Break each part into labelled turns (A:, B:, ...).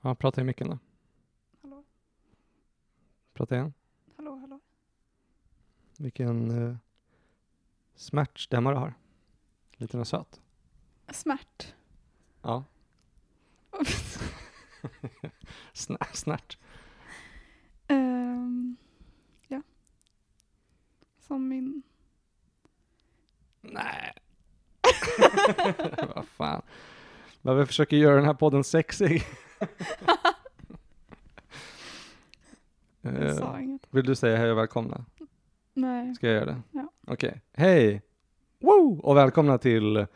A: Ja, prata i micken då.
B: Hallå,
A: Prata igen.
B: hallå, hallå.
A: Vilken uh, smärtstämma du har. Liten och söt.
B: Smärt.
A: Ja. Snär, snärt.
B: Ehm, ja. Som min...
A: Nej. Vad fan. Varför försöker göra den här podden sexig?
B: Jag
A: Eh,
B: sa inget.
A: vill du säga hej och välkomna?
B: Nej.
A: Ska jag göra det?
B: Ja.
A: Okej. Hej! Woo! Och välkomna till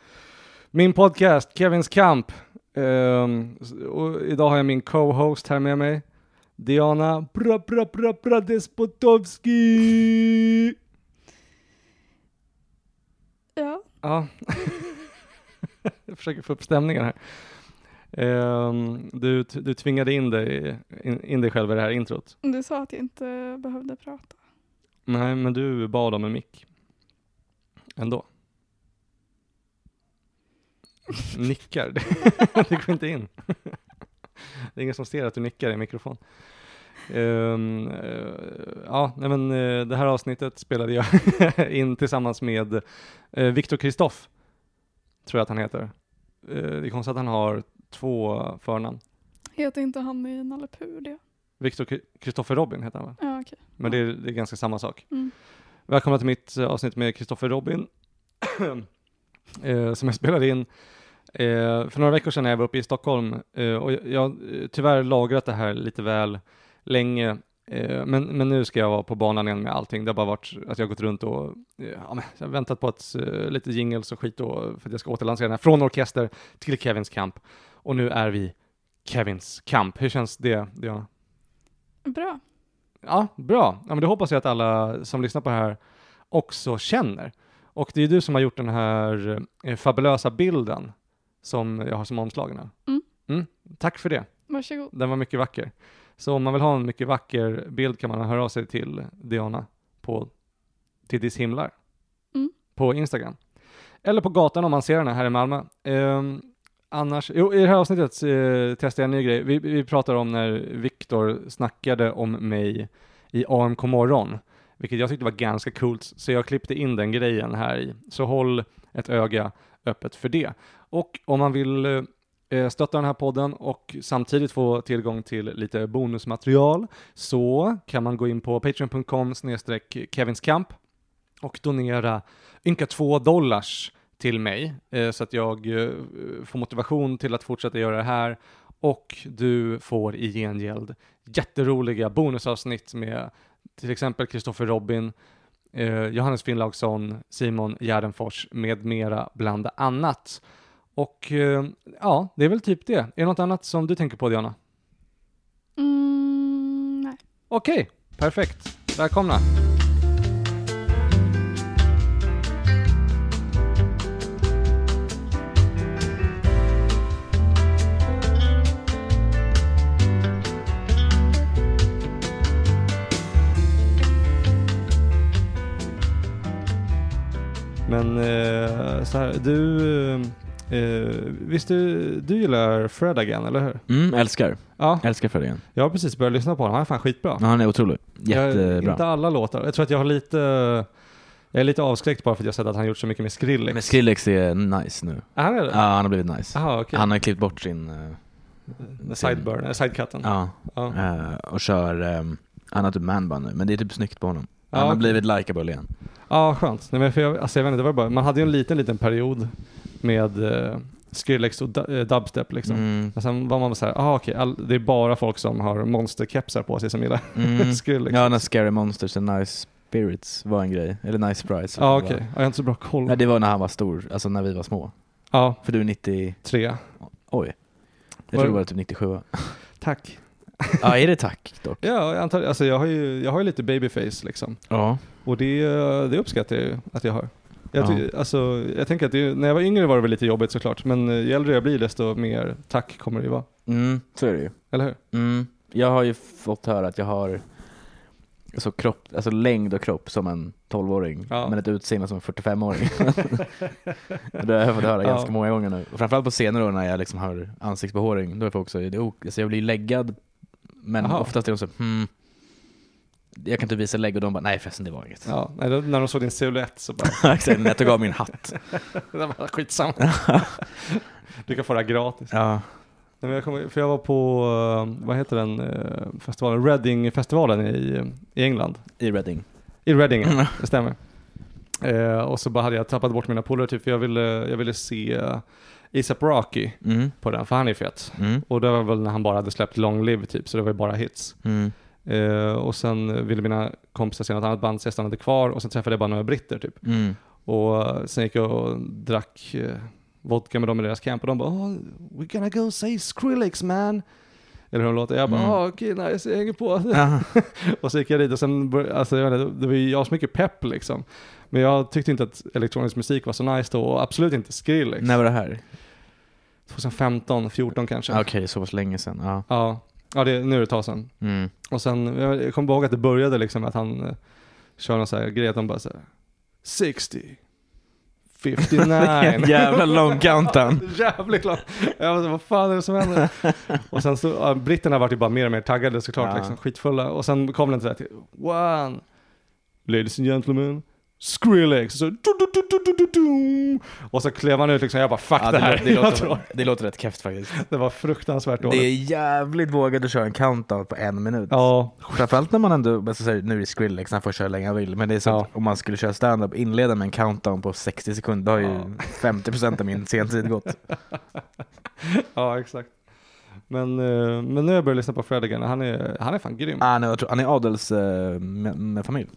A: min podcast Kevins kamp. Ehm, s- och idag har jag min co-host här med mig. Diana bra bra bra bra Despotovski.
B: Ja.
A: Ja. jag försöker få upp stämningen här. Ehm, du, t- du tvingade in dig, in, in dig själv i det här introt.
B: Du sa att jag inte behövde prata.
A: Nej, men du bad om en mick. Ändå. Nickar. Det- det går inte in. Det är ingen som ser att du nickar i mikrofon. Ehm, eh, ja, nej men eh, det här avsnittet spelade jag in tillsammans med eh, Viktor Kristoff, tror jag att han heter. Eh, det är konstigt att han har två förnamn.
B: Heter inte han i Nalle Puh det?
A: Viktor Kri- Kristoffer Robin heter han va?
B: Ja, okej.
A: Men det är, det är ganska samma sak.
B: Mm.
A: Välkomna till mitt eh, avsnitt med Kristoffer Robin, eh, som jag spelade in eh, för några veckor sedan när jag var uppe i Stockholm. Eh, och jag- jag har eh, tyvärr lagrat det här lite väl länge, eh, men, men nu ska jag vara på banan igen med allting. Det har bara varit att jag har gått runt och eh, ja, men, jag har väntat på att, eh, lite jingles och skit då, för att jag ska återlansera den här från orkester till Kevins kamp. Och nu är vi Kevins kamp. Hur känns det, Diana?
B: Bra.
A: Ja, bra. Ja, men det hoppas jag att alla som lyssnar på det här också känner. Och det är du som har gjort den här eh, fabulösa bilden som jag har som omslag nu.
B: Mm.
A: Tack för det.
B: Varsågod.
A: Den var mycket vacker. Så om man vill ha en mycket vacker bild kan man höra av sig till Diana på till Dis himlar
B: Mm.
A: på Instagram. Eller på gatan om man ser den här i Malmö. Ehm, annars, jo, i det här avsnittet eh, testar jag en ny grej. Vi, vi pratar om när Viktor snackade om mig i AMK morgon, vilket jag tyckte var ganska coolt, så jag klippte in den grejen här i. Så håll ett öga öppet för det. Och om man vill eh, eh, stötta den här podden och samtidigt få tillgång till lite bonusmaterial så kan man gå in på patreon.com snedstreck kevinskamp och donera ynka 2 dollars till mig eh, så att jag eh, får motivation till att fortsätta göra det här och du får i gengäld jätteroliga bonusavsnitt med till exempel Kristoffer Robin, eh, Johannes Finnlaugsson, Simon Gärdenfors med mera bland annat. Och eh, ja, det är väl typ det. Är det något annat som du tänker på Diana?
B: Mm, nej.
A: Okej, perfekt. Välkomna. Men eh, så här, du, eh, visst du, du gillar Fred Again, eller hur?
C: Mm, älskar.
A: Ja,
C: Älskar Fred igen.
A: jag har precis börjat lyssna på honom. Han är fan skitbra.
C: Ja, han är otrolig.
A: Jag, inte
C: Jättebra.
A: alla låtar. Jag tror att jag har lite... Jag är lite avskräckt bara för att jag sett att han gjort så mycket med Skrillex.
C: Men Skrillex är nice nu.
A: är han är
C: Ja,
A: det?
C: han har blivit nice.
A: Jaha, okej.
C: Han har klippt bort sin... eh,
A: Okay. Sideburn, eh, sidecutten.
C: Ja,
A: Ja.
C: eh, och kör... ehm, han har typ manband nu, men det är typ snyggt på honom.
A: Ja,
C: han har
A: okej.
C: blivit likeable igen.
A: Ja, skönt. Nej, men för jag, alltså, jag vet inte, det var bara, man hade ju en liten, liten period med eh, Skrillex och du, eh, dubstep liksom.
C: Mm,
A: Men sen var man så här, ah, okej, all, det är bara folk som har monsterkepsar på sig som gillar
C: mm.
A: Skrillex.
C: Ja, när Scary Monsters and Nice Spirits var en grej. Eller Nice Sprites.
A: Ja, okej. Ja, Jag har inte så bra koll.
C: Nej, det var när han var stor, alltså när vi var små.
A: Ja,
C: För du är 90...
A: tre.
C: Oj. Jag
A: Var-
C: tror det var typ 97.
A: Tack.
C: Ja, är det tack dock?
A: Ja, jag, antar, alltså, jag, har ju, jag har ju lite babyface liksom.
C: Ja.
A: Och det, det uppskattar jag ju att jag har. Jag,
C: Ja.
A: ty, alltså, jag tänker att det, när jag var yngre var det väl lite jobbigt såklart, men eh, ju äldre jag blir desto mer tack kommer det ju vara.
C: Mm, så är det ju.
A: Eller hur?
C: Mm. Jag har ju fått höra att jag har så kropp, alltså längd och kropp som en 12-åring,
A: Ja.
C: men ett utseende som en 45-åring. det har jag fått höra
A: Ja.
C: ganska många gånger nu. Och Framförallt på senare år när jag liksom har ansiktsbehåring, då är folk så, det är ok- alltså jag blir läggad, men
A: Aha.
C: oftast är de så, hmm, jag kan inte visa lägg och de bara, nej förresten det var inget.
A: Ja, nej, då- när de såg din silhuett så bara,
C: Exakt, när jag tog av min hatt.
A: det var skitsamma. du kan få det här gratis.
C: Ja.
A: Nej, men jag kommer, för jag var på, eh, vad heter den eh, festivalen, Reading-festivalen i, i England.
C: I Reading.
A: I Reading,
C: Mm.
A: det stämmer. Eh, och så bara hade jag tappat bort mina polare typ, för jag ville, jag ville se eh, ASAP Rocky
C: Mm.
A: på den, för han är fet.
C: Mm.
A: Och det var väl när han bara hade släppt Long Live typ, så det var ju bara hits.
C: Mm.
A: Eh, och sen ville mina kompisar se något annat band, så jag stannade kvar och sen träffade jag bara några britter typ.
C: Mm.
A: Och eh, sen gick jag och drack eh, vodka med dem i deras camp och de bara oh, “We're gonna go say Skrillex man”. Eller hur de låter. Jag bara
C: Mm.
A: “Ah okej, nice, jag hänger på”.
C: Aha.
A: och så gick jag dit och sen, bör- alltså, jag vet inte, det var ju jag har så mycket pepp liksom. Men jag tyckte inte att elektronisk musik var så nice då och absolut inte Skrillex.
C: När var det här?
A: 2015, 14 kanske.
C: Okej, så pass länge sedan. Ja.
A: Ja, ja det, nu är det ett tag sedan.
C: Mm.
A: Och sen, jag jag kommer bara ihåg att det började liksom med att han eh, kör någon så här grej att de bara så här 60, 59.
C: Vilken jävla lång countdown.
A: Jävligt lång. Jag bara, vad fan är det som händer? och sen så, ja, britterna vart ju bara mer och mer taggade såklart,
C: Ja.
A: liksom skitfulla. Och sen kom den till det här till, one, ladies and gentlemen, Skrillex. Så, du, du, du, du, du, du, du. Och så klev han ut liksom, jag bara fuck
C: Ja,
A: det här.
C: lå- det,
A: jag
C: låter,
A: tror,
C: det låter rätt keft faktiskt.
A: det var fruktansvärt
C: Det
A: dåligt.
C: är jävligt vågat att köra en countdown på en minut.
A: Ja,
C: Framförallt när man ändå, alltså, så här, nu är det Skrillex, han får köra hur länge han vill. Men det är så
A: Ja.
C: att om man skulle köra stand-up, inleda med en countdown på 60 sekunder, då har ju
A: Ja.
C: 50% av min sentid gått.
A: ja exakt. Men, eh, men nu har jag börjat lyssna på Fred again, han är, han är fan grym.
C: Ah, nej, jag tror, han är adels eh, med, med familj.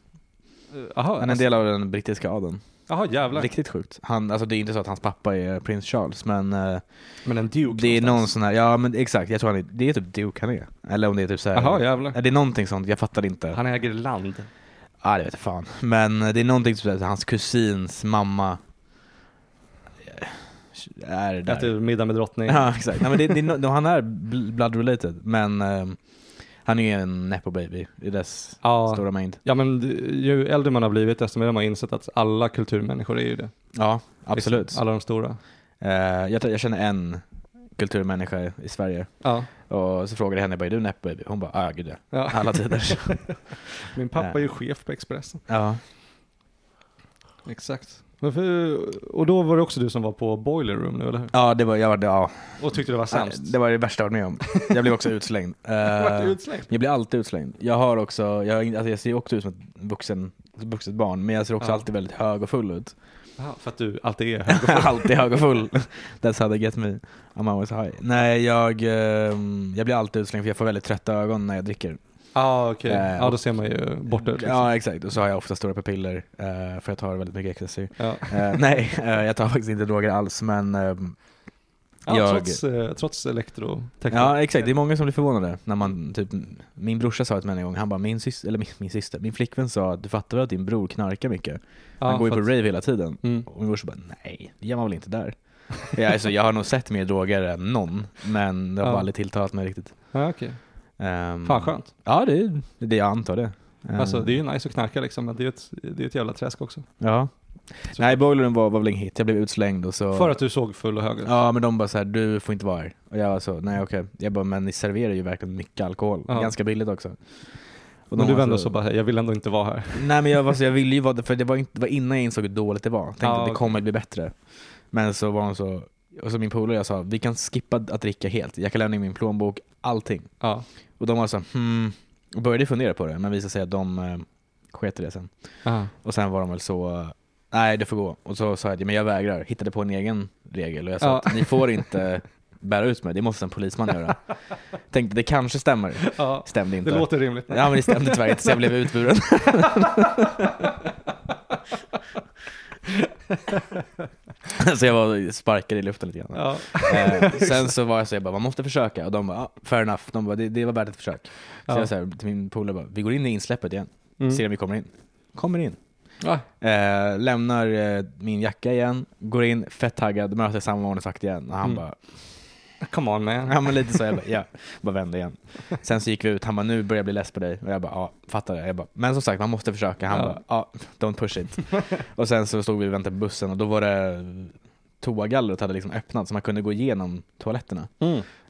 A: Eh, Jaha,
C: Han är en del av den brittiska adeln.
A: Jaha, jävlar.
C: Riktigt sjukt. Han, alltså, det är inte så att hans pappa är prins Charles, men eh,
A: Men en Duke
C: det är någon
A: någonstans.
C: sån här, ja men exakt, jag tror han är, det är typ Duke han är. Eller om det är typ så här.
A: Jaha, jävlar.
C: Ja, Det är någonting sånt, jag fattar inte.
A: Han äger land.
C: Ja, det vet jag fan. Men det är någonting som att hans kusins mamma eh, är där.
A: Äter middag med drottningen.
C: Ja, exakt. Nej, men det, det, är no- han är bl- blood related, men ehm, han är ju en nepo baby i dess
A: Ja.
C: stora mängd.
A: ja, men ju äldre man har blivit desto mer har man insett att alla kulturmänniskor är ju det.
C: Ja, absolut.
A: Liksom, Alla de stora.
C: Eh, jag, tror- jag känner en kulturmänniska i Sverige
A: Ja.
C: och så frågade jag henne, bara, är du nepo baby? Hon bara, ja ah, gud ja.
A: ja.
C: Alla tider.
A: Min pappa är ju chef på Expressen.
C: ja.
A: Exakt. Men för, och då var det också du som var på Boiler Room nu, eller hur?
C: ja, det var, jag var, ja.
A: Och tyckte det var sämst.
C: det var det värsta jag varit med om. Jag blev också utslängd.
A: Vart
C: Eh,
A: du utslängd?
C: Jag blir alltid utslängd. Jag har också, jag, har in- alltså jag ser också ut som ett vuxen, vuxet barn, men jag ser också
A: Ja.
C: alltid väldigt hög och full ut.
A: Ja, för att du alltid är hög.
C: alltid hög och full. That's how they get me. I'm always high. Nej, jag, ehm, jag blir alltid utslängd för jag får väldigt trötta ögon när jag dricker.
A: Ja, okej.
C: Eh,
A: Ja, då ser man ju borta ut. Liksom.
C: Ja, exakt. Och så har jag ofta stora pupiller, eh, för jag tar väldigt mycket ecstasy.
A: Ja.
C: Eh, nej, eh, jag tar faktiskt inte droger alls, men ehm,
A: Ja,
C: Jag-
A: trots, eh, trots elektroteknik.
C: Ja exakt, det är många som blir förvånade när man typ Min brorsa sa det till mig en gång, han bara min syster, eller min, min syster, min flickvän sa att du fattar väl att din bror knarkar mycket? Han
A: Ja,
C: går ju
A: för
C: på
A: att-
C: rave hela tiden.
A: Mm.
C: Och min brorsa bara, nej, det gör man väl inte där? ja, alltså, jag har nog sett mer droger än någon, men det har
A: Ja.
C: bara aldrig tilltalat mig riktigt.
A: Ja, okej.
C: Um,
A: Fan skönt.
C: Ja, det, är- det jag antar det. Ehm,
A: Alltså det är ju nice att knarka liksom, men det är ju ett, det är ett jävla träsk också.
C: Ja.
A: Så-
C: Nej, boilern var, var väl ingen hit, jag blev utslängd och så...
A: För att du såg full och hög ut.
C: Ja, men de bara så här, du får inte vara här. Och jag var så, nej okej. Jag bara, men ni serverar ju verkligen mycket alkohol.
A: Ja.
C: Ganska billigt också. Och de
A: men du
C: var
A: vände och så bara, jag vill ändå inte vara här.
C: Nej men jag, var så, jag ville ju vara för det var, inte, det var innan jag insåg hur dåligt det var. Tänkte
A: Ja,
C: att det
A: okej.
C: kommer bli bättre. Men så var hon så, och så min polare jag sa, vi kan skippa att dricka helt. Jag kan lämna in min plånbok, allting.
A: Ja.
C: Och de var så, hmm, och började fundera på det, men visade sig att de eh, sket i det sen.
A: Aha.
C: Och sen var de väl så, eh, nej det får gå. Och så sa jag, men jag vägrar. Hittade på en egen regel och jag sa
A: Ja.
C: att ni får inte bära ut mig, det måste en polisman göra. Tänkte det kanske stämmer.
A: Ja,
C: Stämde
A: det
C: inte.
A: låter rimligt.
C: Ja men det stämde tyvärr inte så jag blev utburen. så jag var sparkade i luften lite grann.
A: Ja.
C: Eh, sen så var jag så jag bara, man måste försöka. Och de bara, ah, fair enough. De bara, det, det var värt ett försök. Så
A: Ja.
C: jag sa till min polare bara, vi går in i insläppet igen.
A: Mm.
C: Ser om vi kommer in. Kommer in.
A: Ja.
C: Eh, lämnar eh, min jacka igen, går in fett taggad, möter samma ordningsvakt igen. Och han
A: Mm.
C: bara,
A: Come on man.
C: Ja, men lite så. Jag bara, ja. bara vände igen. Sen så gick vi ut, han bara nu börjar jag bli less på dig. Och jag bara, ja, fattar det. Jag bara, men som sagt, man måste försöka. Han
A: Ja.
C: bara, ja, don't push it. och sen så stod vi och väntade på bussen och då var det toagallret hade liksom öppnat så man kunde gå igenom toaletterna.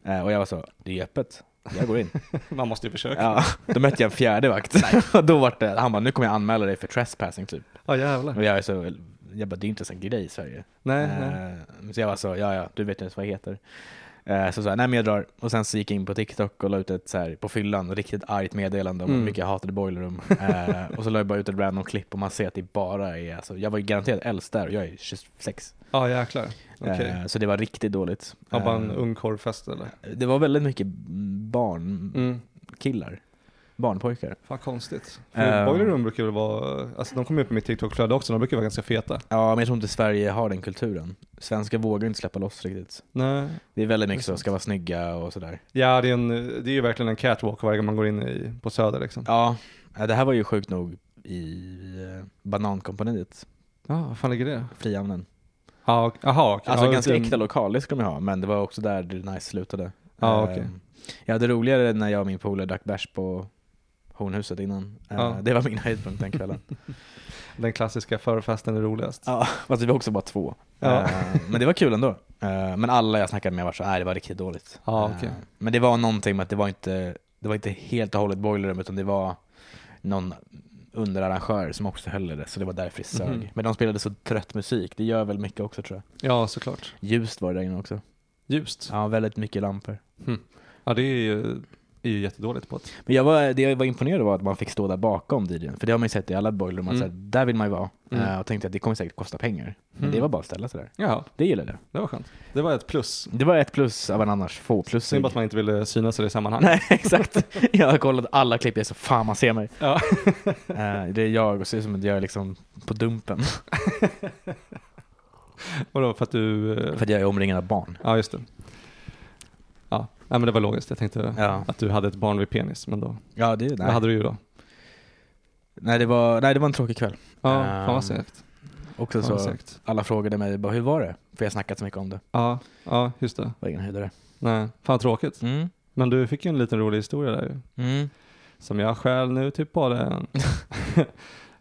C: Eh, och jag var så, det är öppet. Jag går in.
A: Mm. Man måste ju försöka. Ja,
C: Ja, då mötte jag en fjärde vakt. Och då var det, han bara, nu kommer jag anmäla dig för trespassing typ.
A: jävlar.
C: Och jag är så, jag bara, det är inte ens en grej i Sverige.
A: Nej, nej.
C: Eh, Så jag var så, ja ja, du vet ju ens vad jag heter. Eh, Så sa jag, nej men jag drar. Och sen så gick jag in på TikTok och la ut ett så här, på fyllan, riktigt argt meddelande om hur
A: Mm.
C: mycket jag hatade boilerroom. Eh, och så la jag bara ut ett random klipp och man ser att det bara är, alltså, jag var ju garanterat äldst där och jag är 26.
A: Ja, jäklar. Okej.
C: Eh, Så det var riktigt dåligt.
A: Ja, bara en
C: Eh,
A: ung korvfest eller?
C: Det var väldigt mycket barn,
A: Mm.
C: killar, barnpojkar.
A: Fan konstigt.
C: Eh.
A: För boiler room brukar väl vara, alltså de kommer ju på mitt TikTok-flöde också, de brukar vara ganska feta.
C: Ja, men jag tror inte Sverige har den kulturen. Svenskar vågar inte släppa loss riktigt.
A: Nej.
C: Det är väldigt
A: Det är
C: mycket så,
A: sant.
C: ska vara snygga och sådär.
A: Ja, det är, en, det är ju verkligen en catwalk varje gång man går in i, på Söder liksom.
C: Ja, det här var ju sjukt nog i eh, Banankompaniet,
A: Ja, vad fan ligger det?
C: Frihamnen.
A: Ja, och- Jaha, okej.
C: Alltså
A: ja,
C: ganska
A: det-
C: äkta lokal, det skulle de ju ha, men det var också där det nice slutade.
A: Ja,
C: Eh,
A: okej.
C: Jag hade roligare när jag och min polare drack bärs på Hornhuset innan. Eh,
A: Ja.
C: Det var min höjdpunkt den kvällen.
A: Den klassiska förfesten är roligast.
C: ja, fast vi var också bara två.
A: Ja.
C: Eh, Men det var kul ändå. Eh, Men alla jag snackade med var så här, "Äh, det var riktigt dåligt.
A: Ja,
C: Eh,
A: okej.
C: Men det var någonting med att det var inte, det var inte helt och hållet boilerroom, utan det var någon underarrangör som också höll i det, så det var därför det sög.
A: Mhm.
C: Men de spelade så trött musik, det gör väl mycket också tror jag.
A: Ja, såklart.
C: Ljust var det där inne också.
A: Ljust. Ja,
C: Ja, väldigt mycket lampor.
A: det är ju, är ju jättedåligt på ett.
C: Men jag var, det jag var imponerad av var att man fick stå där bakom DJn, för det har man ju sett i alla boilerroom, att
A: Mm.
C: så här, där vill man ju vara.
A: Mm.
C: Eh, Och tänkte att det kommer säkert kosta pengar. Men
A: Mm.
C: det var bara att ställa sig där.
A: Ja,
C: Det gillade jag.
A: det var skönt. Det var ett plus.
C: Det var ett plus av en annars få plus.
A: Synd bara att man inte ville synas i det sammanhanget.
C: Nej, exakt. Jag har kollat alla klipp, jag är så fan man ser mig.
A: Ja.
C: Eh, det är jag och ser ut som att jag är liksom på dumpen.
A: Vadå, för att du... eh,
C: För att jag är omringad av barn.
A: Ja, just det. Ja, nej, men det var logiskt. Jag tänkte
C: Ja,
A: att du hade ett barn vid penis, men då...
C: ja det,
A: Det
C: nej.
A: hade du ju då.
C: Nej, det var, nej, det var en tråkig kväll.
A: Ja,
C: Ehm,
A: fan vad segt.
C: Också
A: Fan vad
C: så,
A: segt.
C: alla frågade mig bara, hur var det? För jag har snackat så mycket om det.
A: Ja, ja, just det.
C: Var ingen höjdare.
A: Nej, fan tråkigt.
C: Mm.
A: Men du fick ju en liten rolig historia där ju.
C: Mm.
A: Som jag själv nu typ på den.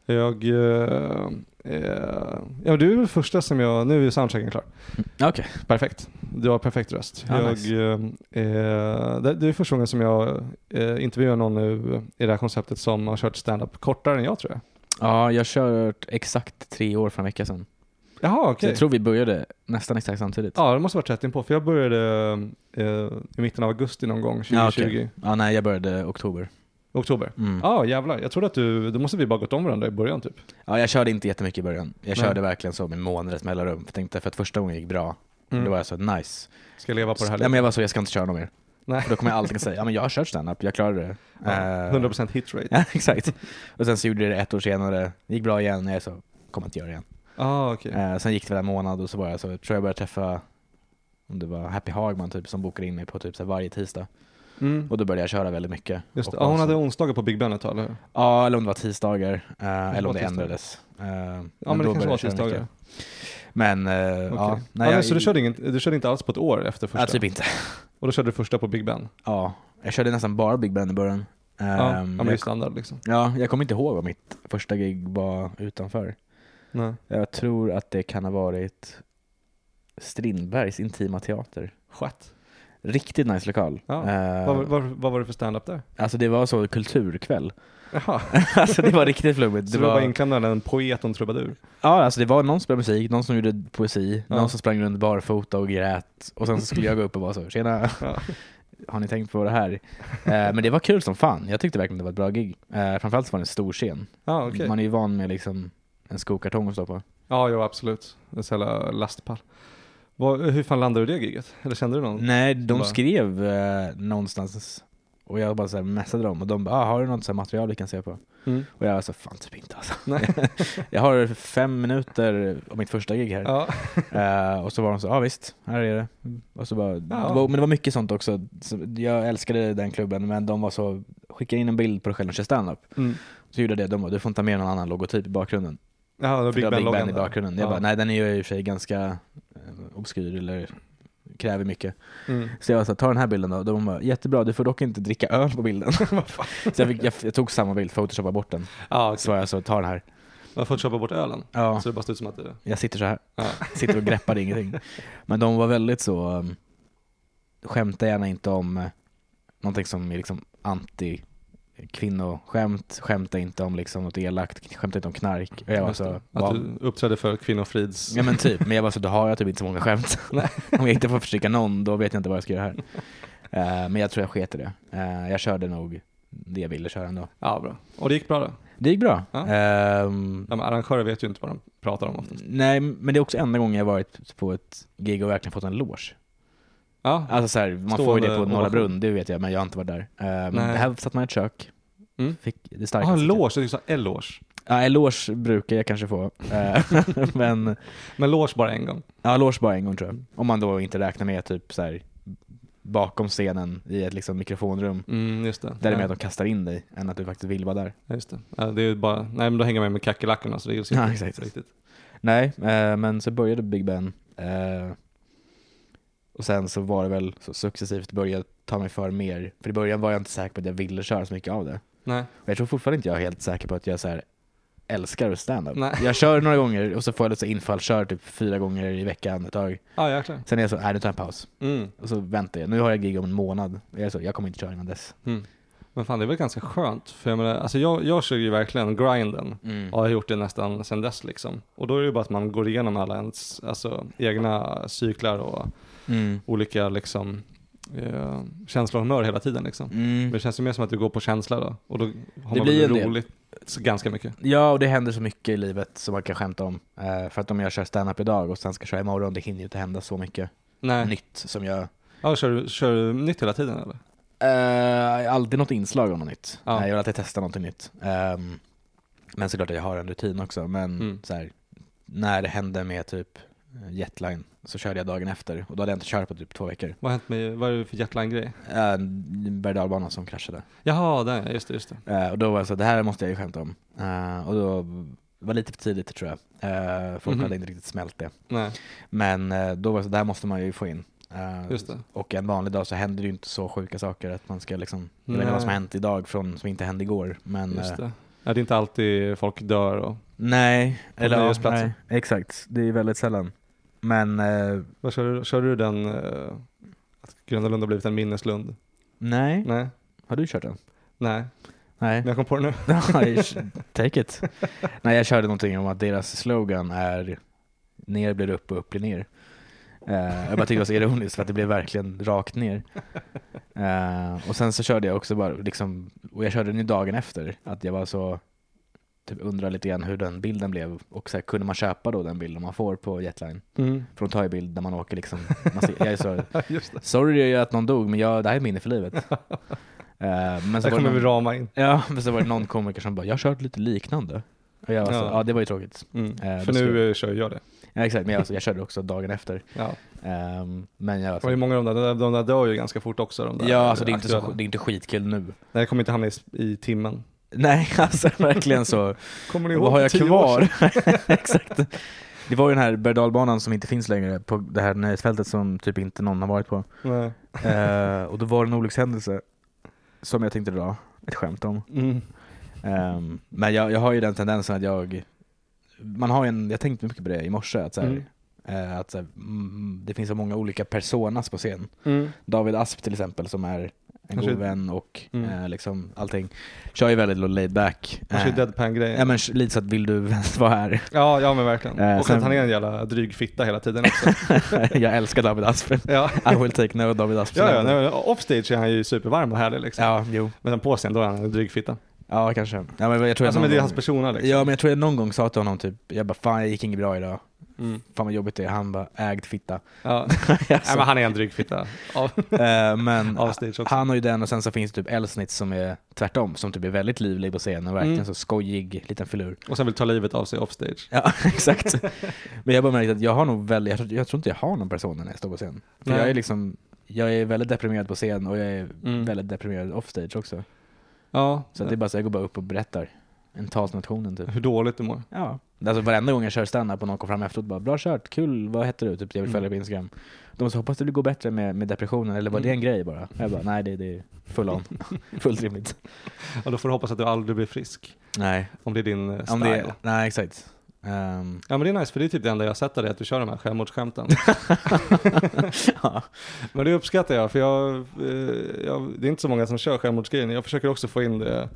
A: jag... Eh, eh, ja, du är väl första som jag... Nu är ju soundchecken klar.
C: Okej.
A: Perfekt. Du har perfekt röst.
C: Ja,
A: jag,
C: nice.
A: eh, eh, det, det är första gången som jag eh, intervjuar någon nu i det här konceptet som har kört stand-up kortare än jag tror jag.
C: Ja, jag har kört exakt tre år för en vecka sedan.
A: Jaha,
C: Så
A: okej.
C: jag tror vi började nästan exakt samtidigt.
A: Ja, det måste varit rätt inpå, för jag började eh, i mitten av augusti någon gång, 2020.
C: Ja, okej. Ja, nej, jag började oktober.
A: Oktober.
C: Mm.
A: Ja, jävlar. Jag trodde att du, då måste vi bara gått om varandra i början typ.
C: Ja, jag körde inte jättemycket i början. Jag
A: Nej.
C: körde verkligen så med månaders mellanrum. För tänkte för att första gången gick bra, då var jag så nice.
A: Ska jag leva Mm. på det här
C: Mm. Ja, men jag var så, jag ska inte köra något mer.
A: Nej.
C: För då kommer jag alltid säga, ja men jag har kört standup, jag klarade det.
A: Ja,
C: Eh,
A: 100% hit rate.
C: Ja, exakt. Och sen så gjorde jag det ett år senare, gick bra igen, jag är så, kommer inte göra det igen.
A: Ah, okej.
C: Eh, sen gick det väl en månad och så var jag så, jag tror jag började träffa, om det var Happy Hagman typ, som bokade in mig på typ så här varje tisdag.
A: Mm.
C: Och då började jag köra väldigt mycket.
A: Just det.
C: Och
A: Ja, hon
C: var så-
A: hade onsdagar på Big Ben ett tag, eller hur?
C: Ja, eller om det var tisdagar, eh, eller
A: var
C: om det
A: tisdagar.
C: ändrades.
A: Ja,
C: Eh,
A: men,
C: då
A: det kanske
C: började
A: var
C: jag köra mycket.
A: tisdagar.
C: Men, eh,
A: Okej.
C: ja.
A: Ja,
C: nej, jag-
A: men så du körde, inget, du körde inte alls på ett år efter första?
C: Ja, typ inte.
A: Och då körde du första på Big Ben?
C: Ja, jag körde nästan bara Big Ben i början. Eh,
A: ja, ja, men det är
C: jag,
A: standard liksom.
C: ja, jag kommer inte ihåg vad mitt första gig var utanför.
A: Nej.
C: Jag tror att det kan ha varit Strindbergs intima teater.
A: Skett.
C: Riktigt nice lokal.
A: Ja.
C: Eh,
A: Vad, vad, vad var det för standup där?
C: Alltså det var så kulturkväll.
A: Jaha,
C: alltså det var riktigt flummigt.
A: så
C: Det
A: du var bara
C: var,
A: inklämd där en poet och en trubadur?
C: ja, alltså det var någon som spelade musik, någon som gjorde poesi,
A: Ja.
C: någon som sprang runt barfota och grät. Och sen så skulle jag gå upp och vara så, tjena,
A: Ja.
C: har ni tänkt på det här? Eh, men det var kul som fan. Jag tyckte verkligen det var ett bra gig. Eh, framförallt så var det en stor scen.
A: Ja, Ah, okej.
C: Man är ju van med liksom en skokartong att stå på.
A: Ja, jo absolut. En sån här lastpall. Vad- hur fan landade du det giget? Eller kände du någon?
C: Nej, de
A: Bara-
C: skrev eh, någonstans och jag bara så här messade dem och de bara ah, “Har du något så här material vi kan se på?”
A: Mm.
C: Och jag var så “Fan typ inte alltså”.
A: Nej.
C: jag har fem minuter av mitt första gig här.
A: Ja.
C: Eh, och så var de så “Ja ah, visst, här är det”. Och så bara,
A: Ja.
C: det var, men det var mycket sånt också. Så jag älskade den klubben men de var så “Skicka in en bild på dig själv och kör standup”.
A: Mm.
C: Så gjorde jag det. De bara “Du får inte ha med någon annan logotyp i bakgrunden”.
A: Jaha, det var
C: För
A: Big
C: det var Big
A: Ben-loggan
C: Ben i
A: där.
C: bakgrunden. Jag
A: Ja.
C: bara “Nej den är ju i och för sig ganska eh, obskyr eller kräver mycket.
A: Mm.
C: Så jag var såhär, ta den här bilden då. De bara, jättebra, du får dock inte dricka öl på bilden. Vad fan? så jag, fick, jag, jag tog samma bild, photoshoppade bort den.
A: Ja,
C: Så var jag så, ta den här.
A: Man får köpa bort ölen.
C: Ja,
A: Så det bara ser ut som att det...
C: jag sitter så här.
A: Ja.
C: Sitter och greppar ingenting. Men de var väldigt så, um, skämta gärna inte om eh, någonting som är liksom anti kvinnoskämt, skämta inte om liksom något elakt, skämta inte om knark. Och jag var
A: Just
C: så,
A: det.
C: "Va?"
A: Att du uppträdde för kvinnofrids...
C: alltså, Ja men typ, men jag var så, då har jag typ inte så många skämt.
A: Nej.
C: Om jag inte får försöka någon, då vet jag inte vad jag ska göra här. Eh, men jag tror jag sket i det. Eh, jag körde nog det jag ville köra ändå.
A: Ja, bra. Och det gick bra då?
C: Det gick bra.
A: Ja.
C: Ehm,
A: Ja, men arrangörer vet ju inte vad de pratar om oftast.
C: nej, men det är också enda gången jag varit på ett gig och verkligen fått en loge.
A: Ja,
C: Alltså så här, man
A: Stående
C: får ju det på Norra
A: ovation.
C: Brunn, det vet jag, men jag har inte varit där. Eh, men
A: Nej.
C: här satt man i ett kök.
A: Mm.
C: Fick det starkaste.
A: ah, en loge, jag tyckte du sa eloge.
C: Ja, eloge brukar jag kanske få. Eh, men,
A: Men loge bara en gång.
C: ja, eloge bara en gång tror jag. Om man då inte räknar med typ så här bakom scenen i ett liksom mikrofonrum.
A: Mm, just det.
C: Där det är mer
A: ja,
C: att de kastar in dig än att du faktiskt vill vara där.
A: ja, just det. Ja, det är ju bara... Nej, men då hänger man ju med kackerlackorna så det är ju
C: Ja, exakt.
A: riktigt.
C: Nej, eh, men så började Big Ben. Eh, och sen så var det väl så successivt började ta mig för mer. För i början var jag inte säker på att jag ville köra så mycket av det.
A: Nej.
C: Och Jag tror fortfarande inte jag är helt säker på att jag så här älskar stand-up.
A: Nej.
C: Jag kör några gånger och så får jag lite infall, kör typ fyra gånger i veckan ett tag.
A: Ja, jäklar.
C: Sen är jag så, nej nu tar jag en paus.
A: Mm.
C: Och så väntar jag, nu har jag gig om en månad. Jag, är så, jag kommer inte köra innan dess.
A: Mm. Men fan, det är väl ganska skönt. För jag menar, alltså jag, jag kör ju verkligen grinden.
C: Mm.
A: Ja, jag har gjort det nästan sedan dess liksom. Och då är det ju bara att man går igenom alla ens alltså, egna cyklar och
C: Mm.
A: olika liksom, eh, känslor och humör hela tiden. Liksom.
C: Mm.
A: Men det känns ju mer som att du går på känsla då. Och då har
C: Det
A: man
C: blir
A: väl
C: en del.
A: roligt ganska mycket.
C: Ja, och det händer så mycket i livet som man kan skämta om. Eh, för att om jag kör stand-up idag och sen ska köra imorgon, det hinner ju inte hända så mycket
A: Nej.
C: nytt som jag...
A: Ja, kör, du- kör du nytt hela tiden eller?
C: Eh, alltid något inslag om något nytt.
A: Ja.
C: Eh, jag vill alltid testa någonting nytt. Ehm, men såklart att jag har en rutin också. Men
A: Mm.
C: så här, när det hände med typ jetline så körde jag dagen efter och då hade jag inte kört på typ två veckor.
A: Vad har hänt med, vad är det för jetline-grej?
C: Eh, En berg och som kraschade.
A: Jaha, där, just det, just det.
C: Eh, och då var jag så här, det här måste jag ju skämta om. Eh, och då var det lite för tidigt tror jag. Eh, folk
A: Mhm.
C: hade inte riktigt smält det.
A: Nej,
C: Men eh, då var det så, där måste man ju få in. Eh,
A: just det.
C: Och en vanlig dag så händer det ju inte så sjuka saker att man ska liksom, jag vet inte
A: Nej.
C: vad som har hänt idag från, som inte hände igår. Men
A: Just
C: eh,
A: det. Ja, det är inte alltid folk dör och...
C: nej, eller ja,
A: nöjesplatser.
C: nej, exakt. Det är väldigt sällan. Men eh,
A: Vad kör du, kör du den, eh, att Gröna Lund har blivit en minneslund?
C: nej,
A: Nej,
C: har du kört den?
A: nej.
C: Nej.
A: Men jag kom på det nu.
C: Take it. nej, jag körde någonting om att deras slogan är ner blir upp och upp blir ner. Eh, jag bara tyckte det var så ironiskt för att det blev verkligen rakt ner. Eh, och sen så körde jag också bara, liksom, och jag körde den ju dagen efter, att jag var så typ undrar lite grann hur den bilden blev och så här, kunde man köpa då den bilden man får på Jetline? För de tar ju bild när man åker liksom, man ser, jag är så,
A: just det.
C: sorry att någon dog men jag, det här är minne för livet. Eh, men så
A: Där
C: var det
A: kommer vi
C: någon-
A: rama in.
C: Ja, men så var det någon komiker som bara, jag har kört lite liknande. Och jag var så,
A: Ja.
C: ja. det var ju tråkigt. Eh,
A: För
C: då ska
A: nu eh, kör jag det.
C: Ja, exakt, men jag, var så, jag körde också dagen efter.
A: Ja.
C: Ehm, men jag var
A: Och det är
C: så,
A: många av de där, de där dör ju ganska fort också. De där
C: ja, alltså det är, inte så,
A: aktuella.
C: det är inte skitkul nu.
A: Nej, det kommer inte hamna i, s- i timmen.
C: Nej, alltså verkligen så.
A: Kommer ni ihåg
C: Vad har
A: för
C: jag
A: tio år
C: kvar?
A: sedan?
C: exakt. Det var ju den här berg som inte finns längre på det här nöjesfältet som typ inte någon har varit på.
A: Nej.
C: Ehm, och då var det en olyckshändelse som jag tänkte dra ett skämt om.
A: Mm.
C: Ehm, men jag, jag har ju den tendensen att jag, man har ju en, jag tänkte mycket på det i morse, att, så här,
A: Mm.
C: eh, att så här, mm, det finns så många olika personas på scen.
A: Mm.
C: David Asp till exempel som är en
A: Kanske-
C: god vän och
A: Mm.
C: eh, liksom allting, kör ju väldigt laid back.
A: Kanske
C: Eh,
A: deadpan-grejen.
C: Ja men lite så att vill du vara här?
A: Ja, ja men verkligen.
C: Eh,
A: och
C: sen-
A: att han är en jävla dryg fitta hela tiden också.
C: jag älskar David Asp.
A: ja.
C: I will take no David Asp.
A: Ja, ja, nej, offstage är han ju supervarm och härlig liksom.
C: ja, jo.
A: Men sen på scen, då är han en dryg fitta.
C: Ja, kanske. Ja, men jag tror jag
A: Alltså
C: någon
A: men det är
C: gång-
A: hans persona liksom.
C: Ja, men jag tror jag någon gång sa till honom typ, jag bara fan jag gick inget bra idag,
A: Mm.
C: fan vad jobbigt det är, han bara ägd fitta.
A: Ja. Nej,
C: Alltså.
A: men han är en dryg fitta. Av,
C: Eh, men
A: av stage också.
C: han har ju den och sen så finns det typ Elsnit som är tvärtom, som typ är väldigt livlig på scenen och verkligen
A: Mm.
C: så skojig liten filur.
A: Och sen vill ta livet av sig offstage.
C: Ja, exakt. Men jag bara märkt att jag har nog väldigt, jag tror, jag tror inte jag har någon person när jag står på scen. För
A: Nej.
C: jag är liksom, jag är väldigt deprimerad på scen och jag är
A: Mm.
C: väldigt deprimerad offstage också.
A: Ja,
C: Så att det är bara så, jag går bara upp och berättar. En talsnationen typ.
A: Hur dåligt du mår.
C: Ja. Alltså varenda gång jag kör standup och någon kommer fram efteråt bara “bra kört, kul, vad heter du?” typ “jag vill
A: Mm.
C: följa dig på Instagram”. De sa “hoppas det går bättre med, med depressionen” eller var det en
A: Mm.
C: grej bara? Jag bara “nej, det, det är full on. Fullt rimligt”.
A: Ja, då får du hoppas att du aldrig blir frisk.
C: Nej,
A: Om det är din eh, style.
C: om det, nej exakt. Ehm,
A: Ja men det är nice, för det är typ det enda jag har sett av dig, att du kör de här självmordsskämten.
C: ja.
A: men det uppskattar jag, för jag, eh, jag, det är inte så många som kör självmordsgrejen. Jag försöker också få in det.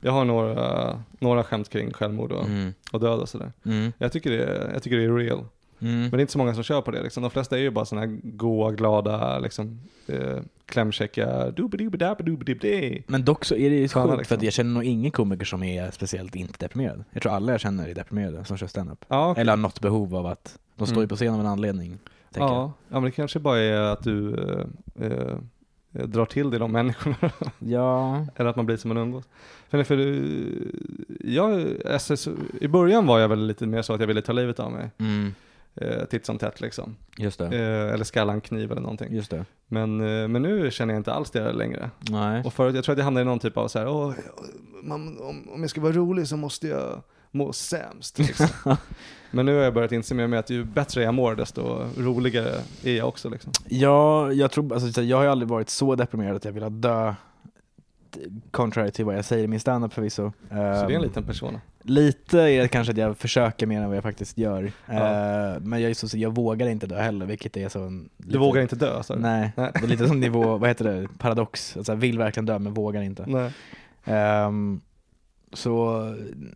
A: Jag har några, några skämt kring självmord och,
C: Mm.
A: och död och sådär.
C: Mm.
A: Jag tycker, det, är- jag tycker det är real.
C: Mm.
A: Men det är inte så många som kör på det liksom. De flesta är ju bara sådana här goa, glada, liksom eh, klämkäcka, doobidoobidabbidoobidibbidi.
C: Men dock så är det ju
A: Sköna,
C: sjukt för
A: liksom.
C: att jag känner nog ingen komiker som är speciellt inte deprimerad. Jag tror alla jag känner är deprimerade som kör standup.
A: Ja, okej.
C: Eller har något behov av att, de står ju
A: Mm.
C: på scen av en anledning. tänker
A: ja. ja, men det kanske bara är att du eh, eh, drar till dig de människorna.
C: jag. ja.
A: Eller att man blir som man umgås. För, för eh, jag, SS, I början var jag väl lite mer så att jag ville ta livet av mig.
C: Mm.
A: Eh, titt som tätt liksom.
C: Just det.
A: Eh, eller skalla en kniv eller någonting.
C: Just det.
A: Men, eh, men nu känner jag inte alls det längre.
C: Nej.
A: Och förut, jag tror att jag hamnade i någon typ av så här, "Åh, man, om, om jag ska vara rolig så måste jag må sämst. Liksom. men nu har jag börjat inse mer med att ju bättre jag mår desto roligare är jag också. Liksom.
C: Ja, jag, tror, alltså, så här, jag har ju aldrig varit så deprimerad att jag vill ha dö. Contrary till vad jag säger i min standup förvisso.
A: Så det är en
C: Ehm,
A: liten persona.
C: Lite är det kanske att jag försöker mer än vad jag faktiskt gör.
A: Ja.
C: Ehm, men jag, är så, så jag vågar inte dö heller, vilket är så en...
A: Du vågar inte dö, sa du?
C: Nej,
A: Nej.
C: det är lite som nivå, vad heter det, paradox. Alltså, jag vill verkligen dö men vågar inte.
A: Nej.
C: Ehm, så,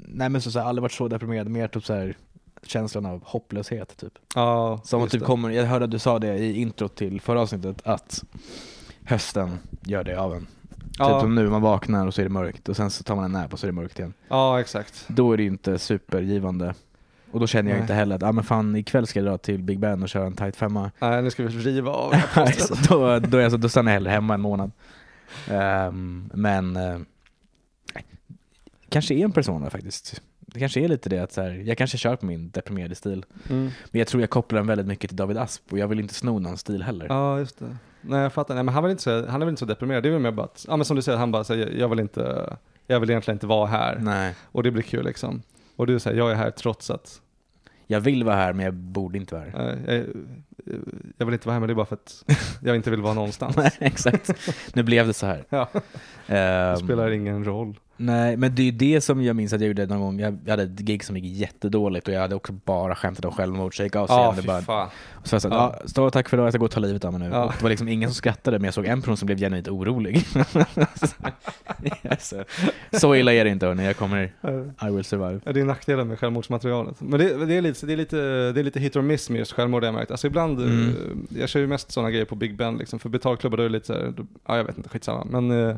C: nej men så, så här, aldrig varit så deprimerad, mer typ så här känslan av hopplöshet typ.
A: Ja,
C: Som att
A: just
C: typ
A: det.
C: kommer, jag hörde att du sa det i introt till förra avsnittet att hösten gör det av en. Typ
A: ja,
C: som nu, man vaknar och så är det mörkt och sen så tar man en nap och så är det mörkt igen.
A: ja, exakt.
C: Då är det ju inte supergivande. Och då känner jag
A: Nej.
C: inte heller att, ah, men fan ikväll ska jag dra till Big Ben och köra en tight femma.
A: Nej, nu ska vi riva av det här
C: så
A: plåstret.
C: då, då, är jag så, då stannar jag hellre hemma en månad. Ehm, men eh, kanske är en persona faktiskt. Det kanske är lite det att så här, jag kanske kör på min deprimerade stil.
A: mm.
C: Men jag tror jag kopplar den väldigt mycket till David Asp och jag vill inte sno någon stil heller.
A: Ja, just det. Nej, jag fattar. Nej, men han, vill inte så, han är väl inte så deprimerad. Det är väl mer bara att, ja men som du säger, han bara säger, jag vill inte, jag vill egentligen inte vara här.
C: Nej.
A: Och det blir kul liksom. Och du säger, jag är här trots att,
C: Jag vill vara här men jag borde inte vara här.
A: eh, jag, eh, jag vill inte vara här, men det är bara för att jag inte vill vara någonstans.
C: Nej, exakt. Nu blev det så här.
A: Ja, det
C: Ehm,
A: spelar ingen roll.
C: Nej, men det är ju det som jag minns att jag gjorde någon gång. Jag jag hade ett gig som gick jättedåligt och jag hade också bara skämtat om självmord. Så jag gick av scenen och bara...
A: fan.
C: Och så var jag såhär,
A: Ja.
C: ja. stå och tack för idag, jag ska gå och ta livet av mig nu.
A: Ja.
C: Och det var liksom ingen som skrattade, men jag såg en person som blev genuint orolig. Alltså, så illa är det inte hörni, jag kommer...
A: Eh,
C: I will survive.
A: Ja, Det är nackdelen med självmordsmaterialet. Men det, det, är lite, det, är lite, det är lite hit or miss med just självmord har jag märkt. Alltså ibland,
C: Mm.
A: eh, jag kör ju mest sådana grejer på Big Ben liksom. För betalklubbar då är det lite såhär, ja jag vet inte, skitsamma. Men eh,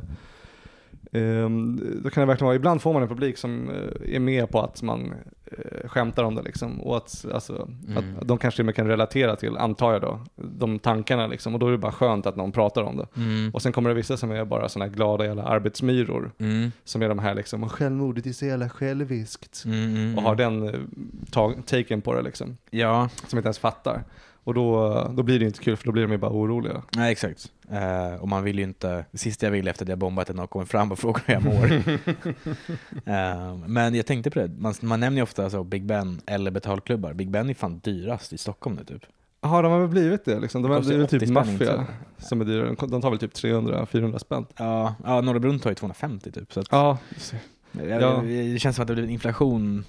A: ehm, då kan det verkligen vara, ibland får man en publik som eh, är med på att man eh, skämtar om det liksom. Och att, alltså,
C: Mm.
A: att de kanske till och med kan relatera till, antar jag då, de tankarna liksom. Och då är det bara skönt att någon pratar om det.
C: Mm.
A: Och sen kommer det vissa som är bara sådana här glada jävla arbetsmyror.
C: Mm.
A: Som är de här liksom, och självmordet är så jävla själviskt
C: Mm, mm,
A: och har den eh, tag- taken på det liksom,
C: Ja,
A: som inte ens fattar. Och då, då blir det ju inte kul för då blir de ju bara oroliga.
C: nej exakt. Eh, och man vill ju inte... Det sista jag vill efter att jag bombat är att någon kommer fram och frågar hur jag mår. Eh, men jag tänkte på det, man, man nämner ju ofta så Big Ben eller betalklubbar. Big Ben är fan dyrast i Stockholm nu typ.
A: Ja, de har väl blivit det liksom. De är, det är väl typ
C: 80 spänn,
A: maffia
C: inte
A: som är dyra. De tar väl typ 300-400 spänn.
C: Ja, ja Norra Brunn tar ju 250 typ. Så att,
A: Ja,
C: jag,
A: Ja.
C: jag, det känns som att det blir en inflation.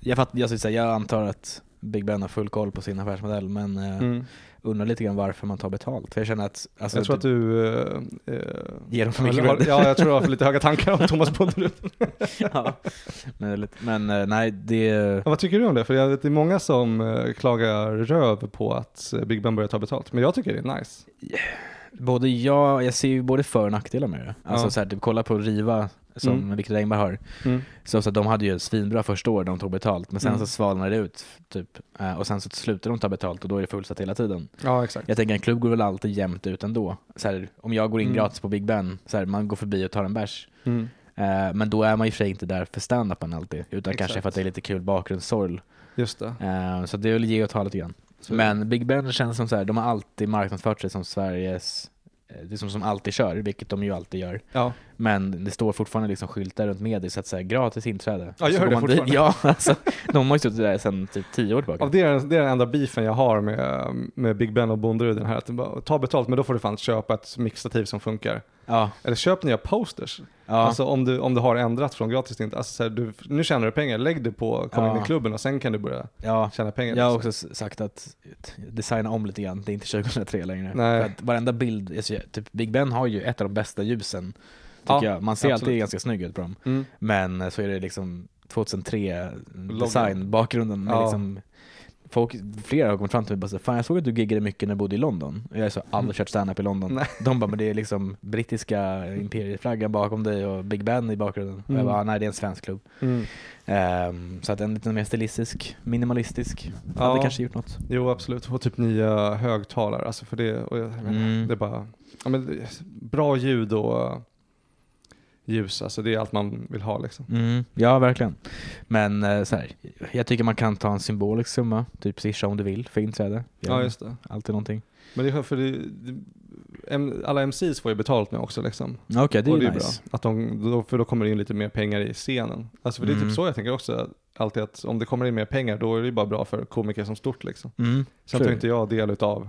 C: Jag, fatt, jag, skulle säga, jag antar att Big Ben har full koll på sin affärsmodell men eh,
A: mm.
C: undrar lite grann varför man tar betalt. För jag känner att, alltså,
A: jag tror att
C: typ,
A: du... eh, eh,
C: ger dem för mycket
A: har,
C: cred.
A: ja, jag tror jag har för lite höga tankar om Thomas Bonderud.
C: ja. Möjligt. Men eh, nej, det...
A: Ja, vad tycker du om det? För jag vet, det är många som eh, klagar röv på att eh, Big Ben börjar ta betalt. Men jag tycker det är nice.
C: Både jag, jag ser ju både för och nackdelar med det. Alltså
A: Ja.
C: så här, typ, kolla på Riva som
A: Mm.
C: Viktor Engberg har. Så, så att de hade ju ett svinbra första år, de tog betalt, men sen
A: Mm.
C: så svalnade det ut typ. Eh, Och sen så slutar de ta betalt och då är det fullsatt hela tiden.
A: Ja, exakt.
C: Jag tänker en klubb går väl alltid jämnt ut ändå. Så här, om jag går in
A: Mm.
C: gratis på Big Ben, så här, man går förbi och tar en bärs.
A: Mm.
C: Eh, Men då är man i och för sig inte där för standupen alltid, utan kanske
A: Exakt.
C: för att det är lite kul bakgrundssorg.
A: Just det.
C: Eh, Så det är väl ge och ta lite grann.
A: Så-
C: Men Big Ben känns som så här, de har alltid marknadsfört sig som Sveriges eh, det är som, som alltid kör, vilket de ju alltid gör.
A: Ja.
C: Men det står fortfarande liksom skyltar runt med det så att säga gratis inträde.
A: Ja, gör
C: så går
A: det
C: man dit-
A: fortfarande?
C: Ja, alltså, de har ju suttit där sedan typ tio år tillbaka.
A: Ja, det, är, det är den enda beefen jag har med, med Big Ben och Bonderuden här. Att det bara, ta betalt, men då får du fan köpa ett mixtativ som funkar.
C: Ja,
A: Eller köp nya posters.
C: ja.
A: Alltså om du, om du har ändrat från gratis till inte. Alltså, så här, du, nu tjänar du pengar, lägg det på kom
C: Ja.
A: in i klubben och sen kan du börja
C: ja.
A: tjäna pengar. liksom.
C: Jag har också s- sagt att designa om lite grann, det är inte 2003 längre.
A: Nej.
C: För att varenda bild, alltså, jag- typ Big Ben har ju ett av de bästa ljusen, tycker
A: Ja,
C: jag. Man ser alltid
A: absolut.
C: ganska snygg ut på dem.
A: Mm.
C: Men eh, så är det liksom 2003
A: Loggan.
C: design, bakgrunden med
A: Ja.
C: liksom Folk, flera har kommit fram till mig och bara så, fan jag såg att du giggade mycket när du bodde i London. Och jag är så, aldrig kört standup i London.
A: Mm. Nej.
C: De bara, men det är liksom brittiska imperieflaggan bakom dig och Big Ben i bakgrunden. Och jag
A: Mm.
C: bara, "Ah, nej det är en svensk klubb.
A: Mm.
C: Ehm, så att en lite mer stilistisk, minimalistisk,
A: Ja.
C: hade kanske gjort något.
A: Jo, absolut. Och typ nya högtalare. Alltså för det, och jag, jag menar,
C: Mm.
A: det är bara ja, men, det- bra ljud och eh, ljus. Alltså det är allt man vill ha liksom.
C: Mm, ja, verkligen. Men eh, så här, jag tycker man kan ta en symbolisk summa, typ swisha om du vill, för inträde.
A: Ja, just det.
C: Alltid någonting.
A: Men det är för det, det, em- alla MCs får ju betalt nu också liksom.
C: Okej, det är
A: och
C: ju nice.
A: bra. Att de, då, för då kommer det in lite mer pengar i scenen. Alltså för det är
C: Mm.
A: typ så jag tänker också. att Alltid att om det kommer in mer pengar då är det ju bara bra för komiker som stort liksom.
C: Mm,
A: Sen
C: Sure.
A: tar inte jag del utav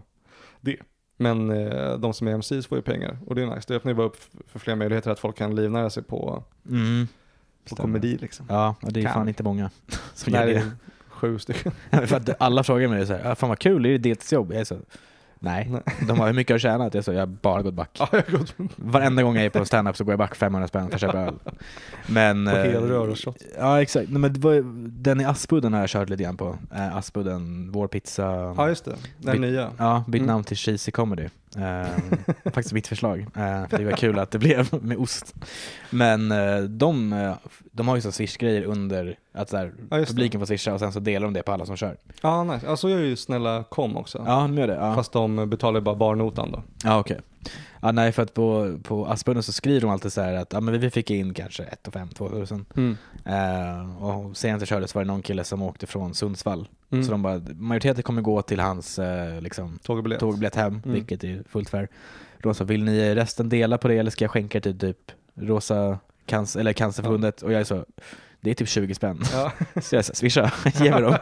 A: det. Men eh, de som är MCs får ju pengar och det är nice. Det öppnar ju bara upp f- för fler möjligheter att folk kan livnära sig på,
C: mm.
A: på
C: Stämmer.
A: komedi liksom.
C: Ja, och det är
A: Kan.
C: fan inte många som
A: Nej,
C: gör
A: det
C: det.
A: är sju stycken.
C: för att alla frågar mig så här, "Ah, fan vad kul, är det deltidsjobb? Jag är så, nej.
A: Nej.
C: De har hur mycket har du tjänat? Jag, är så, jag har bara gått back.
A: Ja, jag har gått på
C: Varenda gång jag är på en standup så går jag back 500 spänn för att köpa öl. Men, eh,
A: helrör och shot.
C: Ja exakt, Nej, men det var, den i Aspudden har jag kört lite grann på. Eh, Aspudden, vår pizza.
A: Ja, just det. Den
C: Vi-
A: nya.
C: Ja, bytt
A: Mm.
C: namn till Cheesy Comedy. Ehm, faktiskt mitt förslag. Eh, för det var kul att det blev med ost. Men eh, de, eh, de har ju så swish-grejer under att så här,
A: Ja, just det.
C: publiken får swisha och sen så delar de det på alla som kör.
A: Ja, nice. Ja, så gör ju Snälla Kom också.
C: Ja, de gör det. Ja,
A: Fast de betalar ju bara barnotan då.
C: ja okej. Ja, nej, för att på, på Aspudden så skriver de alltid så här att ja, men vi fick in kanske 1 5 2000.
A: Mm.
C: Eh, och senast jag körde så var det någon kille som åkte från Sundsvall.
A: Mm.
C: Så de bara, majoriteten kommer gå till hans eh, liksom,
A: Tågbiljett.
C: tågbiljett hem,
A: Mm.
C: vilket är fullt fair. Då sa vill ni resten dela på det eller ska jag skänka till typ Rosa cancer, eller Cancerförbundet? Och jag är så, det är typ 20 spänn.
A: Ja.
C: Så jag sa, swisha, ge mig dem.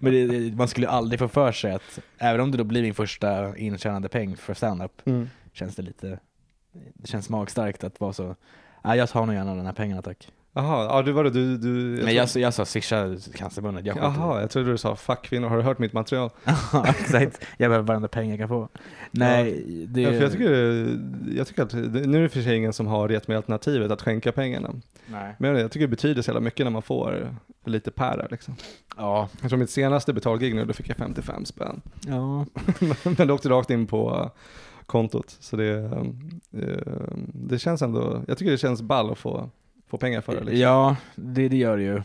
C: Men det, det, man skulle aldrig få för sig att, även om det då blir min första intjänade peng för standup,
A: Mm.
C: känns det lite, det känns magstarkt att vara så, nej jag tar nog gärna den här pengarna tack.
A: Jaha, ja, det var det du... du
C: Men jag, jag sa swisha Cancerförbundet, jag
A: jag
C: skiter i det."
A: Jaha, jag trodde du sa fuck kvinnor, har du hört mitt material?
C: Ja, exakt. Jag behöver varenda pengar jag kan få. Nej, det...
A: Ja, för jag, tycker, jag tycker att, nu är det för sig ingen som har gett mig alternativet att skänka pengarna.
C: Nej.
A: Men jag tycker det betyder så jävla mycket när man får lite per där liksom.
C: Ja.
A: Jag tror mitt senaste betalgig nu, då fick jag 55 spänn.
C: ja.
A: Men det åkte rakt in på kontot. Så det, eh, det känns ändå, jag tycker det känns ball att få, få pengar för det. Liksom.
C: Ja, det, det gör det ju.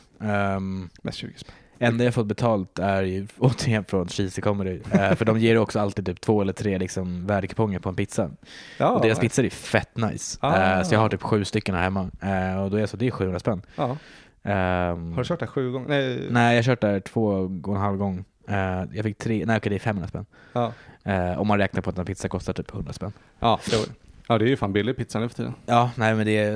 C: Um,
A: Mest 20 spänn.
C: enda jag fått betalt är ju återigen från Cheesy Comedy. Eh, för de ger ju också alltid typ två eller tre liksom, värdekuponger på en pizza.
A: Ja,
C: och deras
A: nej.
C: pizzor är fett nice.
A: Ah.
C: Eh, så jag har typ sju stycken här hemma. Eh, och då är jag så, det är 700 spänn.
A: ja.
C: Ehm,
A: Har du kört det sju gånger? Nej.
C: Nej, jag har kört där två och en halv gång. Eh, jag fick tre, nej okej det är 500 spänn.
A: Ja.
C: Eh, om man räknar på att en pizza kostar typ 100 spänn.
A: Ja, jo. ja, det är ju fan billig pizza nu för tiden.
C: Ja, nej men det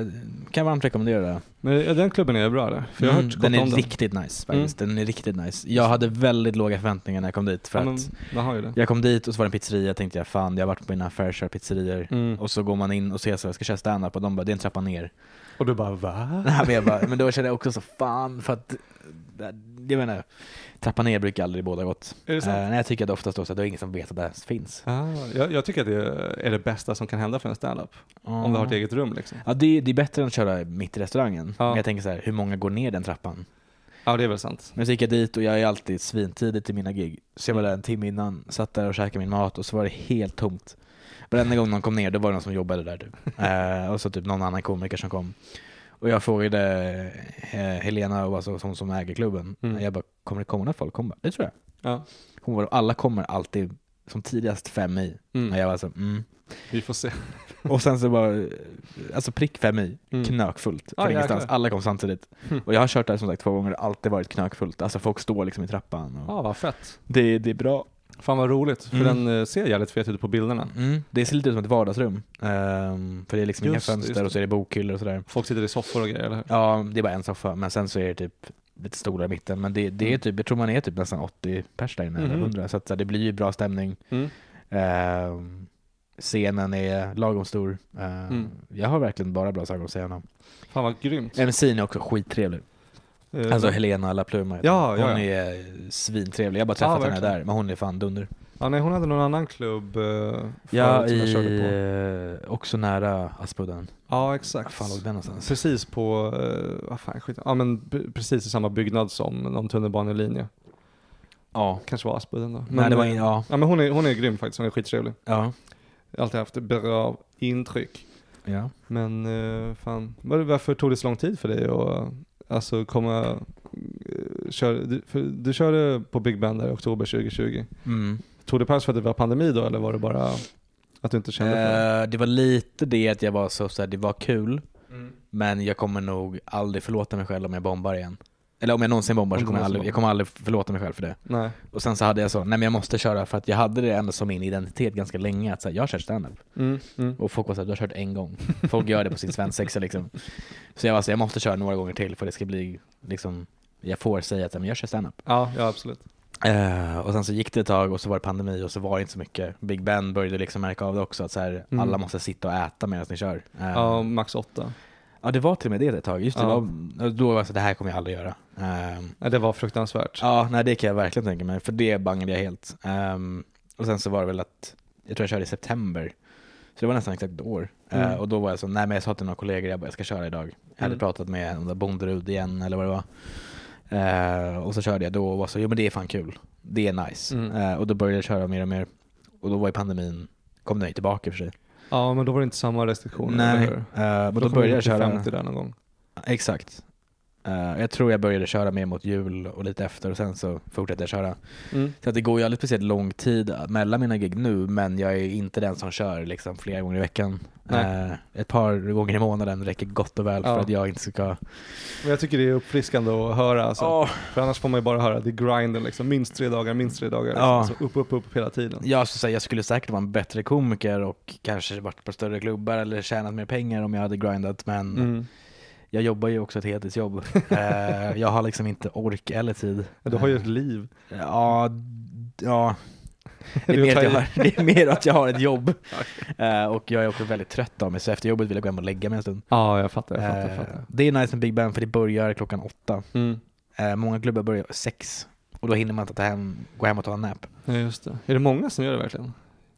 C: kan jag varmt rekommendera. Det.
A: Men ja, den klubben Mm, är bra där. För jag har hört gott
C: Mm, den är
A: om Mm.
C: riktigt nice faktiskt. Den är riktigt nice. Jag hade väldigt låga förväntningar när jag kom dit. För
A: Ja, men,
C: att
A: man har ju det.
C: jag kom dit och så var det en pizzeria, tänkte jag fan jag har varit på mina fair share pizzerior.
A: Mm.
C: Och så går man in och ser så jag ska köra standup och de bara det är en trappa ner.
A: Och du bara va?
C: Nej, men, jag bara, men då kände jag också så fan för att, jag menar, trappa ner brukar aldrig båda gott.
A: Är det sant?
C: Eh, nej, jag tycker att det oftast då så att det är ingen som vet att det här finns.
A: Ah, jag, jag tycker att det är det bästa som kan hända för en standup. Om du har ett eget rum liksom.
C: Ja det är, det är bättre än att köra mitt i restaurangen.
A: Ja.
C: Men jag tänker så här, hur många går ner den trappan?
A: Ja, det är väl sant.
C: Men så gick jag dit och jag är alltid svintidig till mina gig. Så jag var där en timme innan, satt där och käkade min mat och så var det helt tomt. Varenda gång någon kom ner, då var det någon som jobbade där typ. Eh, och så typ någon annan komiker som kom. Och jag frågade eh, Helena, alltså hon som äger klubben,
A: Mm.
C: jag bara, kommer det komma några folk? Hon bara, det tror jag.
A: Ja.
C: Hon bara, alla kommer alltid som tidigast fem i. Och jag var så, mm.
A: Vi får se.
C: Och sen så bara, alltså prick fem i,
A: Mm.
C: knökfullt. Från
A: Ah,
C: ingenstans,
A: jäklar.
C: alla kom samtidigt.
A: Mm.
C: Och jag har kört där som sagt två gånger, det har alltid varit knökfullt. Alltså folk står liksom i trappan. Och...
A: Ja, vad Ah, fett.
C: Det, det är bra.
A: Fan vad roligt, för
C: Mm.
A: den eh, ser jävligt fet ut på bilderna.
C: Mm. Det ser lite ut som ett vardagsrum. Ehm, för det är liksom inga
A: Just det, just
C: fönster och så är det bokhyllor och sådär.
A: Folk sitter i soffor och grejer, eller hur?
C: Ja, det är bara en soffa, men sen så är det typ lite stolar i mitten. Men det, det är
A: Mm.
C: typ, jag tror man är typ nästan 80 pers där inne, eller
A: Mhm.
C: 100. Så att så här, det blir ju bra stämning.
A: Mm.
C: Ehm, scenen är lagom stor. Ehm,
A: Mm.
C: Jag har verkligen bara bra saker att säga om honom.
A: Fan vad grymt.
C: MC'n är också skittrevlig.
A: Eh,
C: Alltså Helena Lapluma heter
A: Ja,
C: hon.
A: ja,
C: Hon är eh, svintrevlig. Jag har bara
A: Ja,
C: träffat henne
A: verkligen.
C: där, men hon är fan dunder.
A: ja, nej, hon hade någon annan klubb eh, förut
C: Ja,
A: som jag körde på.
C: i, också nära Aspudden.
A: Ja,
C: Var
A: exakt.
C: fan låg den någonstans?
A: Precis på, eh, vad fan skit, ja men p- precis i samma byggnad som någon tunnelbanelinje.
C: Ja.
A: Kanske var Aspudden då.
C: Nej, det var
A: eh,
C: in, ja.
A: Ja men hon är, hon är grym faktiskt, hon är skittrevlig.
C: Ja.
A: Jag har Alltid haft bra intryck.
C: ja.
A: Men eh, fan, Var- varför tog det så lång tid för dig att eh, alltså komma, eh, kör, du, för, du körde på Big Band där i oktober 2020.
C: Mm.
A: Tog det paus för att det var pandemi då eller var det bara att du inte kände för det?
C: Eh, det var lite det att jag var så, så här, det var kul, men jag kommer nog aldrig förlåta mig själv om jag bombar igen. Eller om jag någonsin bombar
A: Om
C: så
A: du
C: kommer jag,
A: någonsin
C: aldrig, jag kommer aldrig förlåta mig själv för det.
A: Nej.
C: Och sen så hade jag så, nej men jag måste köra för att jag hade det ändå som min identitet ganska länge att så här, jag kör standup.
A: Mm, mm.
C: Och folk var såhär, du har kört en gång. Folk gör det på sin svensexa liksom. Så jag var så här, jag måste köra några gånger till för det ska bli liksom, jag får säga att så här, men jag kör standup.
A: Ja, ja absolut.
C: Eh, och sen så gick det ett tag och så var det pandemi och så var det inte så mycket. Big Ben började liksom märka av det också, att så här,
A: Mm.
C: alla måste sitta och äta medan ni kör. Eh,
A: Ja, max åtta.
C: ja, det var till och med det ett tag. Just det,
A: Ja.
C: var, då var jag så här, det här kommer jag aldrig göra. Eh,
A: Nej, det var fruktansvärt.
C: ja, nej det kan jag verkligen tänka mig, för det bangade jag helt. Eh, och sen så var det väl att, jag tror jag körde i september, så det var nästan exakt ett år. Eh,
A: Mm.
C: och då var jag så, nej men jag sa till några kollegor, jag, bara, jag ska köra idag. Jag hade
A: Mm.
C: pratat med om det var Bonderud igen eller vad det var. Eh, och så körde jag då och var så, jo men det är fan kul. Det är nice.
A: Mm.
C: Eh, och då började jag köra mer och mer. Och då var ju pandemin, kom den ju tillbaka i och för sig.
A: Ja, men då var det inte samma restriktioner,
C: Nej,
A: eller hur?
C: eh, men då,
A: kom
C: började
A: vi
C: jag
A: upp till
C: köra.
A: 50 där någon gång.
C: Exakt. Eh, jag tror jag började köra mer mot jul och lite efter och sen så fortsatte jag köra. Så att det går ju aldrig speciellt lång tid mellan mina gig nu men jag är inte den som kör liksom flera gånger i veckan.
A: Nej.
C: Eh, ett par gånger i månaden räcker gott och väl för
A: Ja.
C: att jag inte ska...
A: Men jag tycker det är uppfriskande att höra alltså.
C: Åh,
A: För annars får man ju bara höra, det är grinden liksom, minst tre dagar, minst tre dagar. Liksom.
C: Ja.
A: Så upp, upp, upp hela tiden.
C: Jag skulle, säga, jag skulle säkert vara en bättre komiker och kanske varit på större klubbar eller tjänat mer pengar om jag hade grindat men
A: Mm.
C: jag jobbar ju också ett heltidsjobb. Eh, jag har liksom inte ork eller tid.
A: Du har ju ett liv.
C: Ja, d- ja. Det är,
A: Du
C: mer
A: tar
C: att jag
A: i.
C: har, det är mer att jag har ett jobb Eh, och jag är också väldigt trött av mig så efter jobbet vill jag gå hem och lägga mig en stund.
A: Ja, jag fattar,
C: Eh, Det är nice med Big Bang för det börjar klockan åtta.
A: Mm.
C: Eh, många klubbar börjar sex och då hinner man inte ta hem, gå hem och ta en nap.
A: Ja, just det. Är det många som gör det verkligen?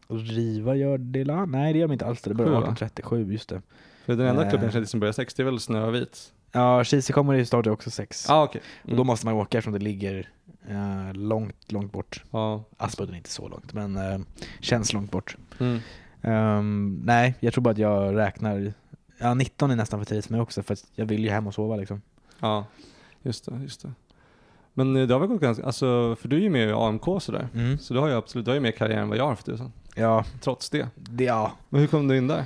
C: Och Riva gör det la? Nej det gör de inte alls det, det börjar
A: Sju, va?
C: 18.37, just det.
A: För den enda
C: Eh.
A: klubben jag känner till som börjar 60 är väl Snövit?
C: Ja, Cheesy kommer ju starta också sex.
A: Ja, ah, okej.
C: Och då måste man åka eftersom det ligger eh, långt, långt bort.
A: Ja.
C: Aspudden är inte så långt, men eh, känns långt bort.
A: Mm.
C: Ehm, nej, jag tror bara att jag räknar. Ja, 19 är nästan för tidigt för mig också för att jag vill ju hem och sova liksom.
A: ja, just det, just det. Men eh, det har väl gått ganska, alltså, för du är ju med i AMK sådär.
C: Mm.
A: Så du har ju absolut, du har ju mer karriär än vad jag har haft tusan.
C: Ja,
A: Trots det.
C: det, ja.
A: Men hur kom du in där?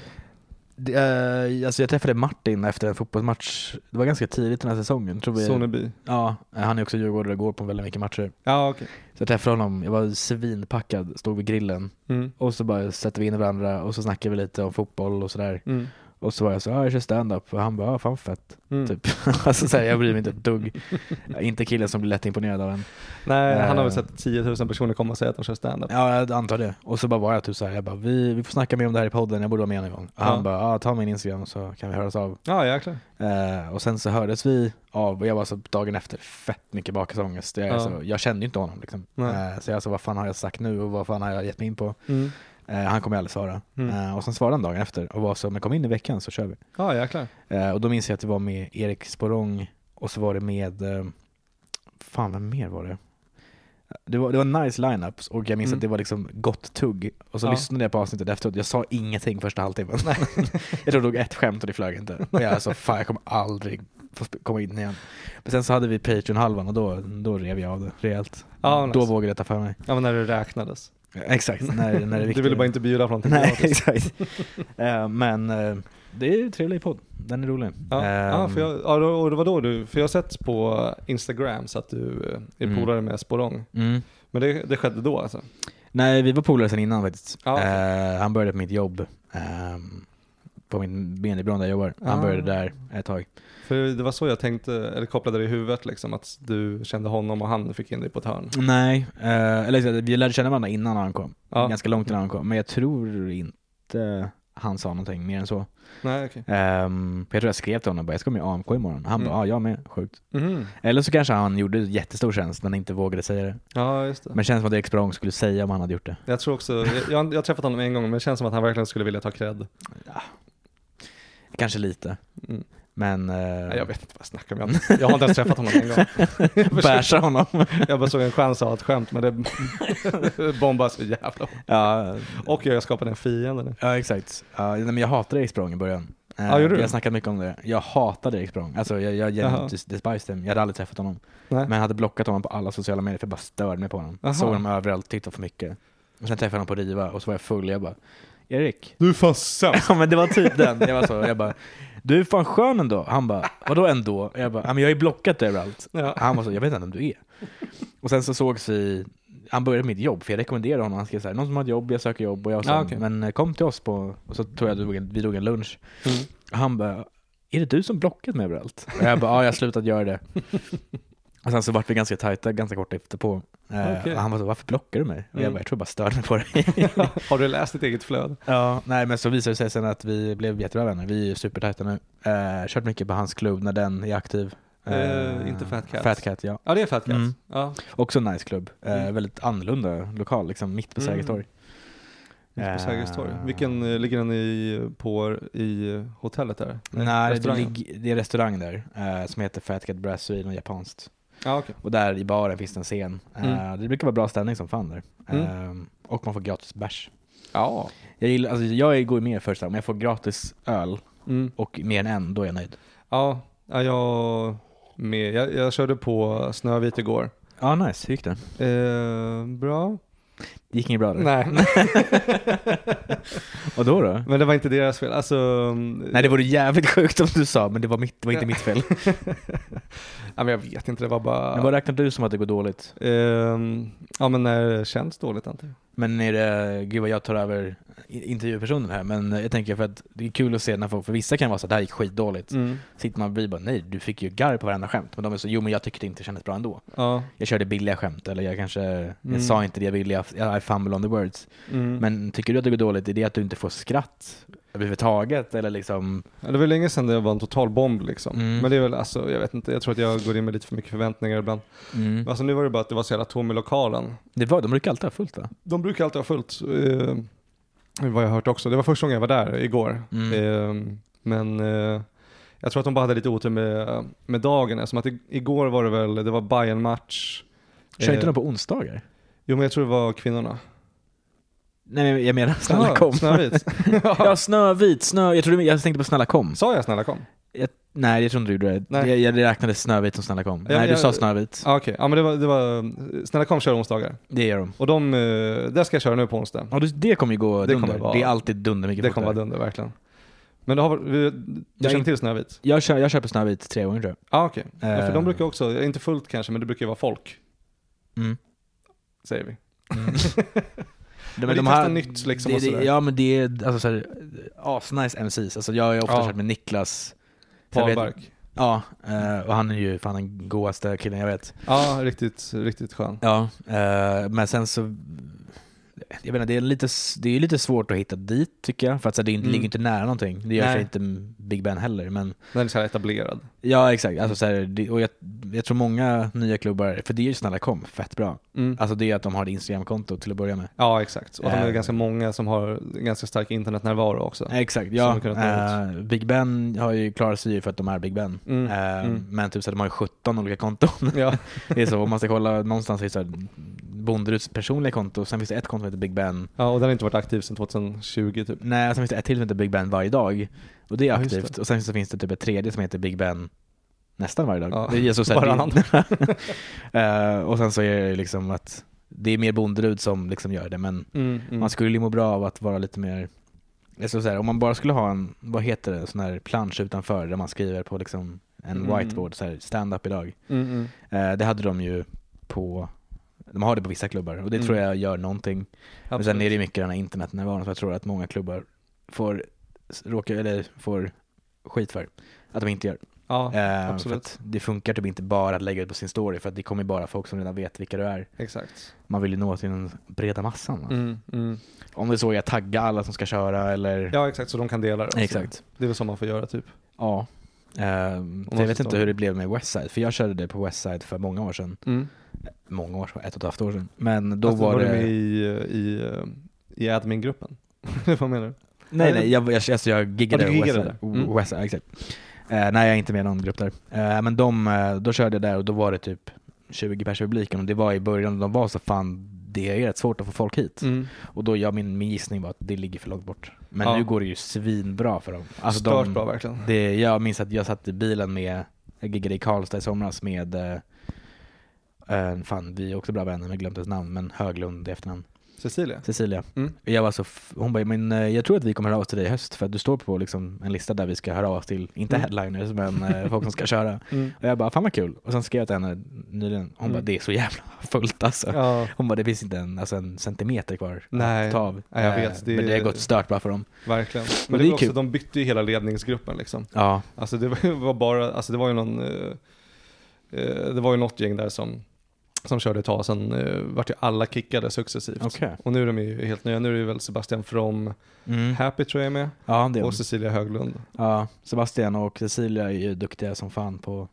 C: Det, eh, alltså jag träffade Martin efter en fotbollsmatch. Det var ganska tidigt den här säsongen. Tror vi.
A: Soneby?
C: Ja, han är också djurgårdare och går på väldigt mycket matcher.
A: Ja, okej.
C: Så jag träffade honom, jag var svinpackad, stod vid grillen
A: Mm.
C: och så bara sätter vi in varandra och så snackar vi lite om fotboll och sådär.
A: Mm.
C: Och så var jag så ja jag kör stand-up och han bara, ja fan fett.
A: Mm.
C: Typ. alltså så här, jag bryr mig inte ett dugg. Jag är inte killen som blir lätt imponerad av en.
A: Nej, han har väl
C: Eh.
A: sett 10 000 personer komma och säga att de kör standup.
C: Ja, jag antar det. Och så bara var jag typ såhär, jag bara, vi, vi får snacka mer om det här i podden, jag borde vara med någon gång. Och han
A: Ja.
C: bara, ja ta min Instagram så kan vi höras av.
A: Ja, jäklar.
C: Eh, och sen så hördes vi av, och jag var så dagen efter fett mycket bakisångest. Jag, är
A: Ja.
C: så, jag kände ju inte honom liksom.
A: Nej.
C: Eh, så jag sa, vad fan har jag sagt nu och vad fan har jag gett mig in på?
A: Mm.
C: Eh, han kommer ju aldrig svara.
A: Mm.
C: Eh, och sen svarade han dagen efter och var så, men kom in i veckan så kör vi.
A: Ja, jäklar.
C: Eh, och då minns jag att det var med Erik Sporrong och så var det med, eh, fan vem mer var det? Det var, det var nice lineups och jag minns
A: Mm.
C: att det var liksom gott tugg. Och så
A: Ja.
C: lyssnade jag på avsnittet efteråt, jag sa ingenting första halvtimmen. jag tror det låg ett skämt och det flög inte. Och jag sa fan jag kommer aldrig få sp- komma in igen. Men sen så hade vi Patreon-halvan och då, då rev jag av det rejält.
A: Ja,
C: Då
A: nice.
C: vågade jag ta för mig. Eh,
A: Ja, men när det räknades.
C: Exakt, när, när det är
A: du ville
C: viktigt.
A: bara inte bjuda på någonting
C: Nej,
A: gratis.
C: exakt. Eh, men eh, det är ju en trevlig podd, den är rolig.
A: Ja, ja,
C: Ehm,
A: för jag, ja, då- och det var då du, för jag har sett på Instagram så att du eh, är
C: Mm.
A: polare med Sporong.
C: mm.
A: Men det, det skedde då alltså?
C: Nej, vi var polare sedan innan faktiskt.
A: Ja, Ah, okej.
C: Eh, han började på mitt jobb. ehm, på min benebyrå där jag jobbar. Han
A: Ah.
C: började där ett tag.
A: För det var så jag tänkte, eller kopplade det i huvudet liksom, att du kände honom och han fick in dig på ett hörn.
C: Nej, eh, eller så här, vi lärde känna varandra innan han kom.
A: Ja.
C: Ganska långt innan han kom. Men jag tror inte han sa någonting mer än så.
A: Nej, okej.
C: Ehm, för jag tror jag skrev till honom bara, jag ska med i AMK imorgon. Han
A: Mm.
C: bara, ja jag med, sjukt.
A: Mhm.
C: Eller så kanske han gjorde jättestor tjänst men inte vågade säga
A: Ah.
C: det.
A: Ja, just det.
C: Men känns som att Erik Språng skulle säga om han hade gjort det.
A: Jag tror också, jag, jag, har- jag har träffat honom en gång, men det känns som att han verkligen skulle vilja ta cred.
C: Kanske lite.
A: Mm.
C: Men... eh,
A: Nej, jag vet inte vad jag snackar om, jag, har- jag har inte ens träffat honom en gång. Jag, försökte,
C: Bärsa honom.
A: jag bara såg en chans att ha ett skämt, men det bombas så jävla hårt.
C: ja,
A: Och jag skapade en fiende nu.
C: ja, exakt. Ja, nej, men jag hatade Erik Språng i början. Eh,
A: Ja, gjorde du?
C: jag snackade mycket om det. Jag hatade Erik Språng. Alltså jag, jag
A: Jaha.
C: genuint dis- despised him. Jag hade aldrig träffat honom.
A: Nej.
C: Men jag hade blockat honom på alla sociala medier för jag bara störde mig på honom.
A: Jaha.
C: Såg honom överallt, tittade för mycket. Och sen träffade jag honom på Riva och så var jag full. Jag bara, Erik,
A: Du är fan sämst.
C: Ja men det var typ den. Jag var så, jag bara, du är fan skön ändå. Han bara, vadå ändå? Jag bara, "Ja, men jag är blockat överallt.
A: Ja.
C: Han var så, jag vet inte vem du är. Och sen så sågs vi, han började mitt jobb, för jag rekommenderade honom. Han skrev så här, någon som har ett jobb, jag söker jobb. Och jag sa,
A: Ah, okej.
C: men eh, kom till oss på, och så tror jag att vi drog en- vi drog en lunch.
A: Mm.
C: Och han bara, är det du som blockat mig överallt? Och jag bara, ja jag har slutat göra det. Och sen så vart vi ganska tajta ganska kort efter på. Eh,
A: Okej.
C: och Han var så, varför blockar du mig? Och jag
A: Mm.
C: bara, jag tror jag bara störde mig på dig.
A: Har du läst ditt eget flöde?
C: Ja, nej men så visade det sig sen att vi blev jättebra vänner. Vi är ju supertajta nu. Eh, kört mycket på hans klubb när den är aktiv.
A: Eh, inte Fat Cats.
C: Fat Cat, ja.
A: Ja, det är Fat Cats.
C: Mm.
A: Ja.
C: Också en nice klubb. Eh,
A: Mm.
C: Väldigt annorlunda lokal, liksom mitt på
A: Mm.
C: Sergels torg.
A: Ute på Sergels torg.
C: Eh.
A: Vilken eh, ligger den i, på i hotellet där?
C: Nej, det,
A: restaurangen?
C: ligger- det är en restaurang där eh, som heter Fat Cat Brasserie, något japanskt.
A: Ja, okej.
C: Och där i baren finns det en scen. Eh, Det brukar vara bra ställning som fan där. Eh, och man får gratis bärs.
A: Ja.
C: Jag, gillar, alltså, jag går med först, om jag får gratis öl
A: Mm.
C: och mer än en, då är jag nöjd.
A: Ja, ja, jag med. Jag, jag körde på Snövit igår.
C: Ja, nice. Hur gick det?
A: Eh, bra?
C: Det gick inget bra där?
A: Nej,
C: Och då då?
A: men det var inte deras fel. Alltså, mm,
C: Nej det vore jävligt sjukt om du sa, men det var, mitt, det var inte mitt fel.
A: ja, men jag vet inte, det var bara...
C: Men vad räknar du som att det går dåligt?
A: Ehm, ja, men när det känns dåligt antar jag.
C: Men är det, gud vad jag tar över i- intervjupersonen här, men jag tänker för att det är kul att se när folk, för vissa kan vara så att det här gick skitdåligt. Sitter man bredvid och bara, nej du fick ju garv på varenda skämt. Men de är så, jo men jag tyckte det inte kändes bra ändå.
A: Ja.
C: Jag körde billiga skämt, eller jag kanske,
A: Mm.
C: jag sa inte det jag ville, jag I fumble on the words.
A: Mm.
C: Men tycker du att det går dåligt, är det att du inte får skratt överhuvudtaget? Eller liksom,
A: Ja, Det var länge sedan det var en total bomb liksom.
C: Mm.
A: Men det är väl alltså, jag vet inte, jag tror att jag går in med lite för mycket förväntningar ibland.
C: mm.
A: Alltså nu var det bara att det var så jävla tom i lokalen.
C: det var, de brukar alltid ha fullt va?
A: De brukar alltid ha fullt, eh, vad jag hört också. Det var första gången jag var där igår.
C: Mm.
A: Eh, men eh, jag tror att de bara hade lite otur med, med dagen. Som att i, igår var det väl, det var bayern match Eh,
C: Kör inte de på onsdagar?
A: Jo men jag tror det var kvinnorna.
C: Nej men jag menar, snälla
A: Ja,
C: kom.
A: Snövit.
C: Ja, Snövit, snö, jag, trodde, jag tänkte på Snälla kom.
A: Sa jag snälla kom?
C: Jag, nej, jag tror inte du gjorde det.
A: Nej.
C: Jag, jag räknade Snövit som Snälla kom.
A: men
C: nej, du
A: jag-
C: sa Snövit.
A: Ah, Okej, ja men det var, det var, snälla kom kör onsdagar.
C: Det gör de.
A: Och de, eh, det ska jag köra nu på onsdag.
C: Ja, du- det kommer ju gå
A: Det
C: dunder.
A: kommer vara-
C: det är alltid dunder mycket
A: Det kommer vara
C: fortare.
A: dunder verkligen. Men det har, vi- du
C: Jag
A: känner
C: in-
A: till Snövit?
C: Jag kör, jag kör på Snövit tre gånger tror
A: Ja ah, okej. Ja, för
C: Eh.
A: de brukar också, inte fullt kanske, men det brukar ju vara folk,
C: jag. Mm.
A: säger vi.
C: Mm.
A: Men det är testa nytt liksom
C: det,
A: och sådär.
C: det, Ja men det är alltså, så här, asnice MCs. Alltså, jag har ju ofta
A: Ja.
C: kört med Niklas. Så jag vet-
A: Wahlberg.
C: Ja, eh, och han är ju fan den godaste killen jag vet.
A: Ja, riktigt, riktigt skön.
C: Ja, eh, men sen så... Jag menar, det är, lite, s- det är lite svårt att hitta dit tycker jag, för att så här, det
A: Mm.
C: ligger inte nära någonting. Det gör
A: Nej.
C: sig inte Big Ben heller, men...
A: Den är så här etablerad.
C: Ja, exakt. Alltså, så här, det, och jag, jag tror många nya klubbar, för det är ju Snälla kom, fett bra.
A: Mm.
C: Alltså det är att de har ett Instagramkonto till att börja med.
A: Ja, exakt. Och de är
C: Eh.
A: ganska många som har ganska stark internetnärvaro också.
C: Exakt,
A: Som
C: ja.
A: har kunnat nå
C: Eh, Big Ben har ju klarat sig ju för att de är Big Ben.
A: Mm.
C: Eh,
A: Mm.
C: Men typ så här, de har ju 17 olika konton.
A: Ja.
C: det är så, om man ska kolla någonstans finns det så här Bonderuds personliga konto, sen finns det ett konto som heter Big Ben,
A: ja, och den har inte varit aktiv sedan 2020 typ.
C: Nej, sen finns det ett till som heter Big Ben varje dag. Och det är
A: Ja, just
C: aktivt. Och sen så finns det typ ett tredje som heter Big Ben nästan varje dag.
A: Ja,
C: Det är så så här-
A: varannan
C: Eh, och sen så är det liksom att det är mer Bonderud som liksom gör det, men
A: Mm, mm.
C: man skulle ju må bra av att vara lite mer jag skulle säga, om man bara skulle ha en, vad heter det, en sån här plansch utanför där man skriver på liksom en
A: Mm.
C: whiteboard, så här stand-up idag.
A: Mm, mm.
C: Eh, det hade de ju på, De har det på vissa klubbar och det
A: Mm.
C: tror jag gör någonting. Men
A: Absolut.
C: sen är det ju mycket den här internetnärvaron som jag tror att många klubbar får, s- råka, eller får skit för att de inte gör.
A: Ja,
C: Eh,
A: absolut.
C: För att det funkar typ inte bara att lägga ut på sin story för att det kommer ju bara folk som redan vet vilka du är.
A: exakt.
C: Man vill ju nå till den breda massan. va?
A: Mm, mm.
C: Om det så är att tagga alla som ska köra eller...
A: Ja, exakt, så de kan dela det. också.
C: Exakt.
A: Det är väl så man får göra typ.
C: Ja. Ehm, för jag
A: måste
C: vet inte
A: ta-
C: hur det blev med Westside, för jag körde det på Westside för många år sedan.
A: Mm.
C: Många år sedan, ett och ett halvt år sedan. Men då
A: Alltså, Då Fast
C: var
A: du
C: det...
A: med i, eh, i, i admin-gruppen? Vad menar du?
C: Nej,
A: Eller-
C: nej, jag, jag, alltså jag giggade
A: Ja, du giggade
C: Westside.
A: där. Mm.
C: Westside, exakt. Eh, nej, jag är inte med i någon grupp där. Eh, men de, eh, då körde jag där och då var det typ 20 pers i publiken och det var i början och de var så fan, det är rätt svårt att få folk hit.
A: Mm.
C: Och då, ja, min, min gissning var att det ligger för långt bort. Men
A: Ja.
C: nu går det ju svinbra för dem. Alltså,
A: Stört
C: de,
A: bra verkligen.
C: Det, jag minns att jag satt i bilen med, jag giggade i Karlstad i somras med, eh, eh, fan vi är också bra vänner men jag glömde hennes namn, men Höglund i efternamn.
A: Cecilia?
C: Cecilia.
A: Mm.
C: Jag var så, f- hon bara, men eh, jag tror att vi kommer höra av oss till dig i höst för att du står på liksom en lista där vi ska höra av oss till, inte
A: Mm.
C: headliners men eh, folk som ska köra.
A: Mm.
C: Och jag bara, fan vad kul. Och sen skrev jag till henne nyligen, hon
A: Mm.
C: bara, det är så jävla fullt alltså.
A: Ja,
C: Hon bara, det finns inte en, alltså en centimeter kvar
A: Nej.
C: att ta av.
A: Nej, jag
C: Eh,
A: vet. Det-
C: Men det har gått stört bra för dem.
A: verkligen. Men,
C: Men
A: det
C: det är
A: var också,
C: kul.
A: de bytte ju hela ledningsgruppen liksom.
C: Ja,
A: Alltså det var- var bara, alltså det var ju någon, eh, eh, det var ju något gäng där som, som körde ett tag, sen eh, vart ju alla kickade successivt.
C: okej.
A: Och nu är de ju helt nya, nu är det väl Sebastian From
C: Mm.
A: Happy tror jag är med,
C: Ja, det är
A: och Cecilia Höglund.
C: Ja, Sebastian och Cecilia är ju duktiga som fan på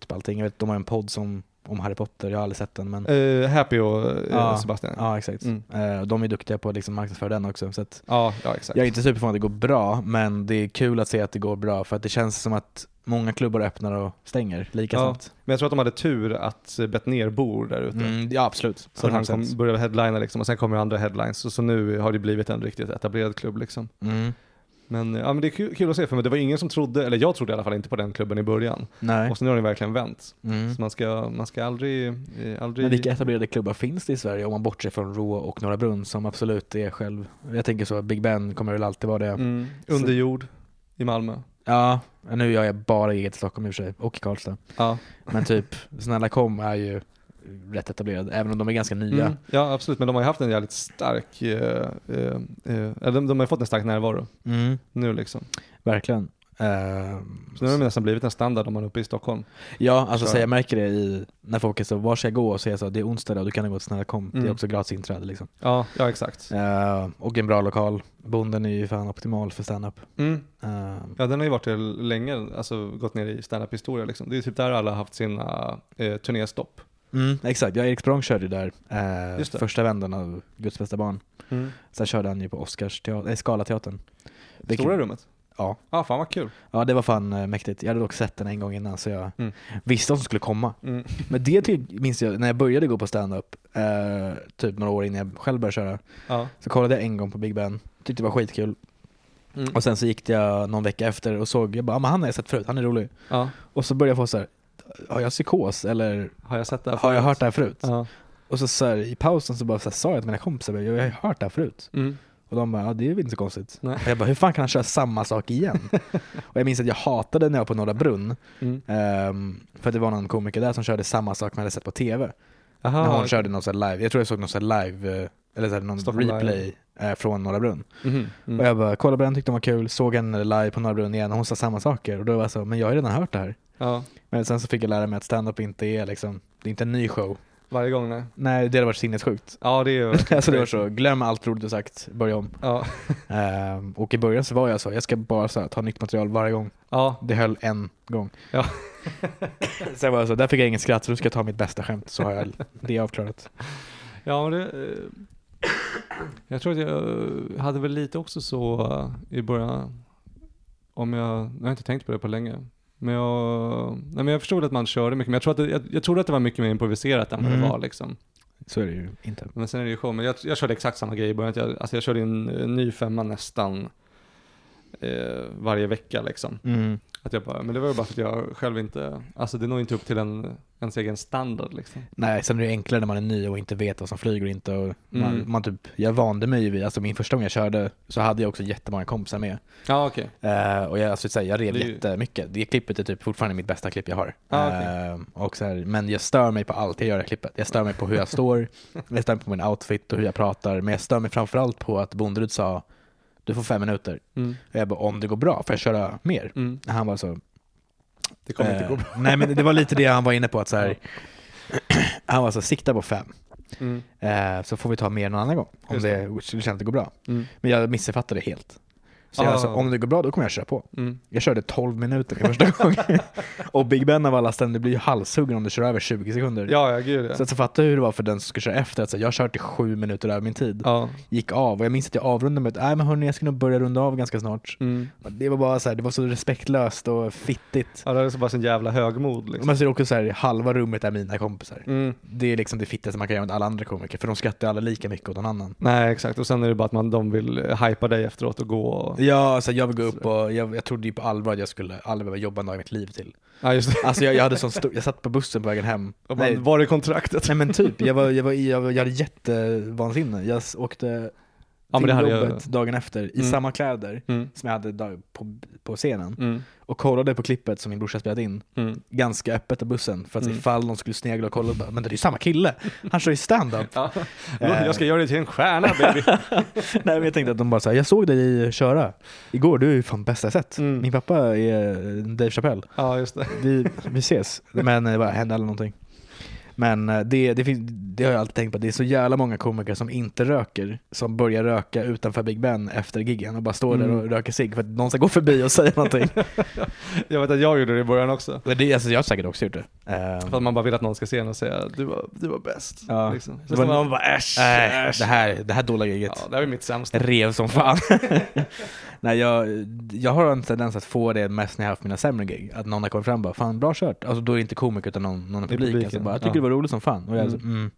C: typ allting. Jag vet, de har en podd som, om Harry Potter, jag har aldrig sett den men
A: Eh, Happy och eh,
C: Mm. Ja.
A: Sebastian. Ja.
C: ja exakt.
A: Mm.
C: Eh, och de är duktiga på att liksom marknadsföra den också. Så att
A: Ja, exakt.
C: jag är inte superförvånad att det går bra, men det är kul att se att det går bra för att det känns som att många klubbar öppnar och stänger lika
A: Ja,
C: snabbt.
A: Men jag tror att de hade tur att eh, Bettner bor där ute.
C: Mm, ja, absolut.
A: Så att han kom,
C: 100%.
A: började headlina liksom och sen kommer andra headlines. Så, så nu har det blivit en riktigt etablerad klubb liksom.
C: Mm.
A: Men, eh, ja, men det är kul, kul att se, för det var ingen som trodde, eller jag trodde i alla fall inte på den klubben i början.
C: Nej.
A: Och sen har den verkligen vänt.
C: Mm.
A: Så man ska, man ska aldrig... Eh, aldrig
C: Men vilka etablerade klubbar finns det i Sverige om man bortser från Rå och Norra Brunn som absolut är själv. Jag tänker så, Big Ben kommer väl alltid vara det.
A: mm, under jord i Malmö.
C: Ja, nu gör jag bara eget i Stockholm i och för sig, och Karlstad.
A: Ja,
C: Men typ Snälla kom är ju rätt etablerad, även om de är ganska nya.
A: mm, ja absolut. Men de har ju haft en jävligt stark... Eh, eh, eh, eller de, de har ju fått en stark närvaro
C: Mm,
A: nu liksom.
C: verkligen. Ehm,
A: Så nu har de nästan blivit en standard om man är uppe i Stockholm.
C: ja, alltså
A: Så-
C: så jag märker det i, när folk är så, var ska jag gå? Och säger så, det är onsdag och du kan gå till Snälla kom. Det
A: Mm.
C: är också gratis inträde liksom.
A: Ja, ja exakt.
C: Ehm, och en bra lokal. Bonden är ju fan optimal för standup.
A: Mm.
C: Ehm,
A: Ja, den har ju varit till länge, alltså gått ner i standup-historia liksom. Det är typ där alla har haft sina eh, turnéstopp.
C: mm, exakt, jag och Erik Språng körde ju där eh,
A: Just det.
C: första vändan av Guds bästa barn. Sen körde han ju på Oscars teater, äh, Scalateatern. Vilket-
A: Stora rummet?
C: Ja.
A: Ja, fan vad kul.
C: Ja, det var fan eh, mäktigt. Jag hade dock sett den en gång innan så jag
A: Mm.
C: visste vad som skulle komma.
A: Mm.
C: Men det ty- minns jag när jag började gå på stand-up, eh, typ några år innan jag själv började köra,
A: Ja.
C: så kollade jag en gång på Big Ben, tyckte det var skitkul.
A: Mm.
C: Och sen så gick jag någon vecka efter och såg, jag bara, "Ah, men han har jag sett förut, han är rolig.
A: ja.
C: Och så började jag få så här, har jag psykos eller
A: Har jag sett det här
C: har jag
A: förut?
C: hört det här förut?
A: Ja.
C: Och så, så här, i pausen så bara så här, sa jag till mina kompisar, jag har ju hört det här förut.
A: Mm.
C: Och de bara, ja det är väl inte så konstigt.
A: Nej.
C: Och jag bara, hur fan kan han köra samma sak igen? och jag minns att jag hatade när jag var på Norra Brunn,
A: Mm.
C: Ehm, för det var någon komiker där som körde samma sak man hade sett på tv. när hon
A: Aha.
C: körde någon sån här live, jag tror jag såg någon sån här live, eh, eller så här, någon
A: Stockholm Live.
C: replay eh, från Norra Brunn.
A: Mhm. Mm.
C: Och jag bara kollade på den, tyckte den var kul, såg henne live på Norra Brunn igen och hon sa samma saker. Och då var jag så, men jag har ju redan hört det här.
A: Ja.
C: Men sen så fick jag lära mig att stand-up inte är liksom, det är inte en ny show.
A: Varje gång nej.
C: Nej, det hade varit sinnessjukt.
A: Ja, det är ju...
C: alltså det var så, glöm allt roligt du sagt, börja om.
A: Ja.
C: Ehm, och i början så var jag så, jag ska bara så här, ta nytt material varje gång.
A: ja.
C: Det höll en gång.
A: Ja.
C: Sen var jag så, där fick jag ingen skratt så nu ska jag ta mitt bästa skämt så har jag det avklarat.
A: Ja, men det... eh, Jag tror att jag hade väl lite också så eh, i början, om jag... Jag har inte tänkt på det på länge. Men jag, nej men jag förstod att man körde mycket, men jag tror att det, jag, jag trodde att det var mycket mer improviserat än vad det
C: Mm.
A: var liksom.
C: Så är det ju inte.
A: Men sen är det ju show, men jag, jag körde exakt samma grej i början. Jag, alltså jag körde ju en, en ny femma nästan eh, varje vecka eh, liksom. Att jag bara, men det var ju bara för att jag själv inte, alltså det når ju inte upp till en, ens egen standard liksom.
C: Nej, sen är det enklare när man är ny och inte vet vad som flyger och inte. Och man,
A: Mm.
C: man typ, jag vande mig ju vid, alltså min första gång jag körde så hade jag också jättemånga kompisar med.
A: Ja okej.
C: Eh, och jag, alltså, så här, jag rev
A: Det är ju-
C: jättemycket. Det klippet är typ fortfarande mitt bästa klipp jag har.
A: Ah, okej.
C: Eh, och så här, men jag stör mig på allt jag gör i det här klippet. Jag stör mig på hur jag står, jag stör mig på min outfit och hur jag pratar. Men jag stör mig framförallt på att Bonderud sa du får fem minuter.
A: Mm.
C: Och jag bara om det går bra, får jag köra mer?
A: Mm.
C: Han var så,
A: Det kommer
C: eh,
A: inte gå bra.
C: Nej men det var lite det han var inne på. Att så här, han var så sikta på fem.
A: Mm.
C: Eh, så får vi ta mer någon annan gång om
A: Just
C: det, det känns att det går bra.
A: Mm.
C: Men jag missuppfattade det helt. Så jag
A: Ah.
C: sa, om det går bra då kommer jag köra på.
A: Mm.
C: Jag körde 12 minuter min första gång. och Big Ben av alla ställen, det blir ju halshuggen om du kör över 20 sekunder.
A: Ja, ja gud ja.
C: Så, så fattar du hur det var för den som skulle köra efter. Alltså, jag har kört i sju minuter över min tid.
A: ja.
C: Gick av och jag minns att jag avrundade med att nej men hörni jag ska nog börja runda av ganska snart.
A: Mm.
C: Det var bara så här, det var så respektlöst och fittigt.
A: Ja, det är så bara sin jävla högmod liksom.
C: Men så är det också så här, halva rummet är mina kompisar.
A: Mm.
C: Det är liksom det fittigaste man kan göra med alla andra komiker för de skrattar alla lika mycket åt någon annan.
A: Nej, exakt. Och sen är det bara att man, de vill eh, hypa dig efteråt och gå och...
C: Ja, alltså jag vill gå upp och jag, jag trodde ju på allvar att jag skulle aldrig behöva jobba en dag i mitt liv till.
A: Ja, just det.
C: Alltså jag, jag hade sån stor, jag satt på bussen på vägen hem.
A: Och
C: Nej,
A: man, var är kontraktet?
C: Nej men typ, jag, var, jag, var, i- jag, var, jag hade jättevansinne. Jag s- åkte
A: Ja, men
C: till
A: det hade jag.
C: jobbet dagen efter i
A: Mm.
C: samma kläder
A: Mm.
C: som jag hade dag, på, på scenen
A: Mm.
C: och kollade på klippet som min brorsa spelat in
A: Mm.
C: ganska öppet i bussen för att
A: Mm.
C: ifall någon skulle snegla och kolla bara, men det är ju samma kille, han kör ju stand-up.
A: Ja. Jag ska göra dig till en stjärna baby.
C: Nej men jag tänkte att de bara såhär, jag såg dig köra igår, du är ju fan bästa jag sett.
A: Mm.
C: Min pappa är Dave Chappelle.
A: ja, just det.
C: vi, vi ses. Men det bara hände aldrig någonting. Men eh, det, det, finns, det har jag alltid tänkt på, det är så jävla många komiker som inte röker, som börjar röka utanför Big Ben efter giggen och bara står där
A: Mm.
C: och röker cigg för att någon ska gå förbi och säga någonting.
A: Jag vet att jag gjorde det i början också.
C: Men det, alltså, jag har säkert också gjort det. Ehm,
A: För att man bara vill att någon ska se en och säga du var, du var bäst.
C: Ja.
A: Liksom.
C: Det
A: Så
C: var-
A: man bara äsch,
C: nej,
A: äsch.
C: det, här, det här dåliga giget.
A: Ja, det här är mitt sämsta.
C: Rev som fan. Nej, jag, jag har en tendens att få det mest när jag har haft mina sämre gig. Att någon har kommit fram och bara “Fan, bra kört”. Alltså då är det inte komiker utan någon, någon i
A: Det är
C: publiken.
A: publiken,
C: Som bara “Jag tycker
A: ja.
C: det var roligt som fan”. Och jag är så,
A: Mm.
C: mm.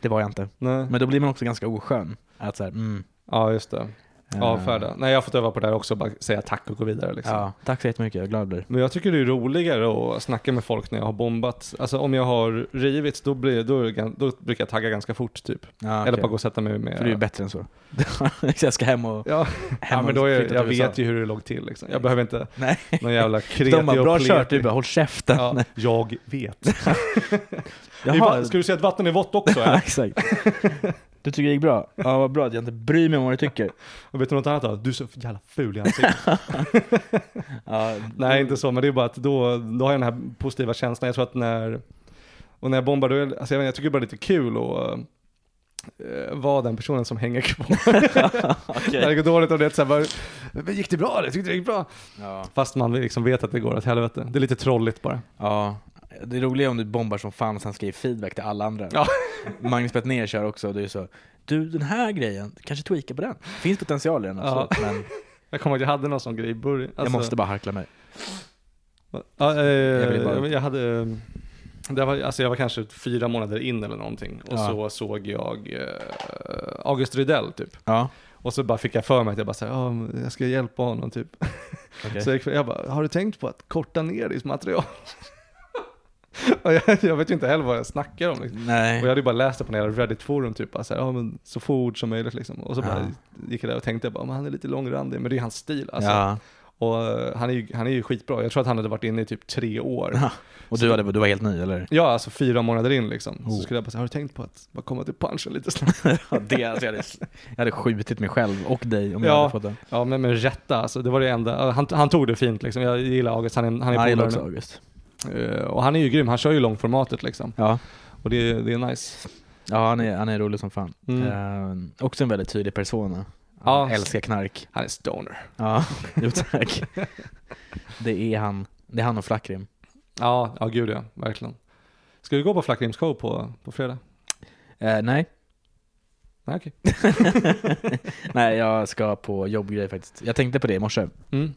C: Det var jag inte.
A: Nej.
C: Men då blir man också ganska oskön. Att så här, mm,
A: Ja, just det.
C: eh,
A: Avfärda. Nej, jag har fått öva på det här också. Bara säga tack och gå vidare liksom.
C: Ja, tack så jättemycket, jag är glad jag blir.
A: Men jag tycker det är roligare att snacka med folk när jag har bombat. Alltså om jag har rivits, då, blir, då, är det gan- då brukar jag tagga ganska fort typ.
C: Ja,
A: Eller
C: okej.
A: bara gå och sätta mig med...
C: För du är bättre än så. jag ska hem och...
A: Ja,
C: Hem
A: ja
C: och
A: men då är,
C: flytta till
A: jag
C: USA.
A: vet ju hur det låg till liksom. Jag behöver inte
C: Nej.
A: någon jävla kreti
C: De bara,
A: och
C: bra
A: pleti."
C: kört, du bara, håll käften.
A: Ja, jag vet. I
C: Jaha,
A: va- Ska du säga att vatten är vått också
C: ja,
A: eller?
C: exakt. Du tycker det gick bra? Ja, vad bra att jag inte bryr mig om vad du tycker.
A: Och vet du något annat då? Du är så jävla ful i ansiktet.
C: Ja,
A: Nej, inte så, men det är bara att då, då har jag den här positiva känslan. Jag tror att när, och när jag bombar, då är, det- alltså jag, vet, inte, jag tycker bara det är lite kul att eh, vara den personen som hänger kvar. När det går dåligt och det är så här bara, "Men gick det bra? Jag tyckte det gick bra.
C: Ja.
A: Fast man liksom vet att det går åt helvete. Det är lite trolligt bara.
C: ja. Det roliga är om du bombar som fan och sen ska ge feedback till alla andra.
A: Ja.
C: Magnus Bettner kör också och du är så, du den här grejen, kanske tweaka på den. Finns potential i den
A: Ja.
C: absolut, men
A: Jag kommer ihåg att jag hade någon sån grej i början.
C: jag
A: Alltså-
C: måste bara harkla mig.
A: Ja, eh,
C: Jag
A: jag,
C: ville bara-
A: jag hade... eh, Det var, alltså jag var kanske fyra månader in eller någonting och
C: Ja.
A: så såg jag eh, August Rydell typ.
C: Ja.
A: Och så bara fick jag för mig att jag bara så här, "Ja, men jag ska hjälpa honom typ. Så jag, gick- jag bara, har du tänkt på att korta ner ditt material? och jag, jag vet ju inte heller vad jag snackar om. Liksom.
C: Nej.
A: Och jag hade ju bara läst det på några Reddit-forum typ, bara så, här, "Ja, men så få ord som möjligt liksom. Och så bara gick jag där och tänkte, jag bara, men han är lite långrandig, men det är hans stil alltså.
C: ja.
A: Och eh, han är, ju, han är ju skitbra. Jag tror att han hade varit inne i typ tre år.
C: Och du, hade, du var helt ny eller?
A: Ja, alltså fyra månader in liksom. Så
C: Oh.
A: skulle jag bara säga, har du tänkt på att bara komma till punchen lite snabbt?
C: Ja, det, alltså, jag, hade, jag hade skjutit mig själv och dig om jag
A: Ja.
C: hade fått den.
A: Ja, men med rätta alltså. Det var det enda. Han, han tog det fint liksom. Jag gillar August, han är, han är
C: Ja, jag gillar
A: polare
C: också
A: nu.
C: August.
A: Eh, Och han är ju grym, han kör ju långformatet liksom.
C: Ja,
A: Och det, är- det är nice.
C: ja han, är, han är rolig som fan.
A: Mm.
C: Eh, också en väldigt tydlig persona.
A: Ja.
C: Han Älskar knark.
A: Han är stoner.
C: Ja, jo tack. Det är han. Det är han och Flackrim.
A: Ja, ja gud ja, verkligen. Ska du gå på Flackrims show på, på fredag?
C: Eh, nej,
A: Nej, okej.
C: nej jag ska på jobbgrej faktiskt. Jag tänkte på det i morse, eh,
A: Mm.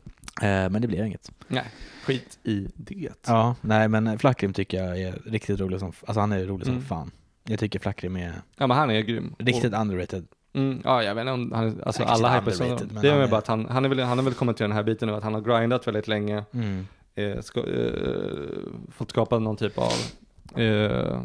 C: men det blir inget.
A: Nej, skit i det.
C: Ja, nej men Flackrim tycker jag är riktigt rolig som, alltså han är rolig som
A: Mm.
C: fan. Jag tycker Flackrim är
A: Ja, men han är grym.
C: riktigt underrated.
A: Mm, ja, jag vet inte om han, alltså
C: Han kanske
A: alla
C: inte är
A: hypers honom.
C: underrated, men
A: Det är
C: han
A: väl
C: är-
A: bara att han, han, är väl, han har väl kommit till den här biten nu att han har grindat väldigt länge,
C: Mm.
A: eh, ska, eh, fått skapa någon typ av eh,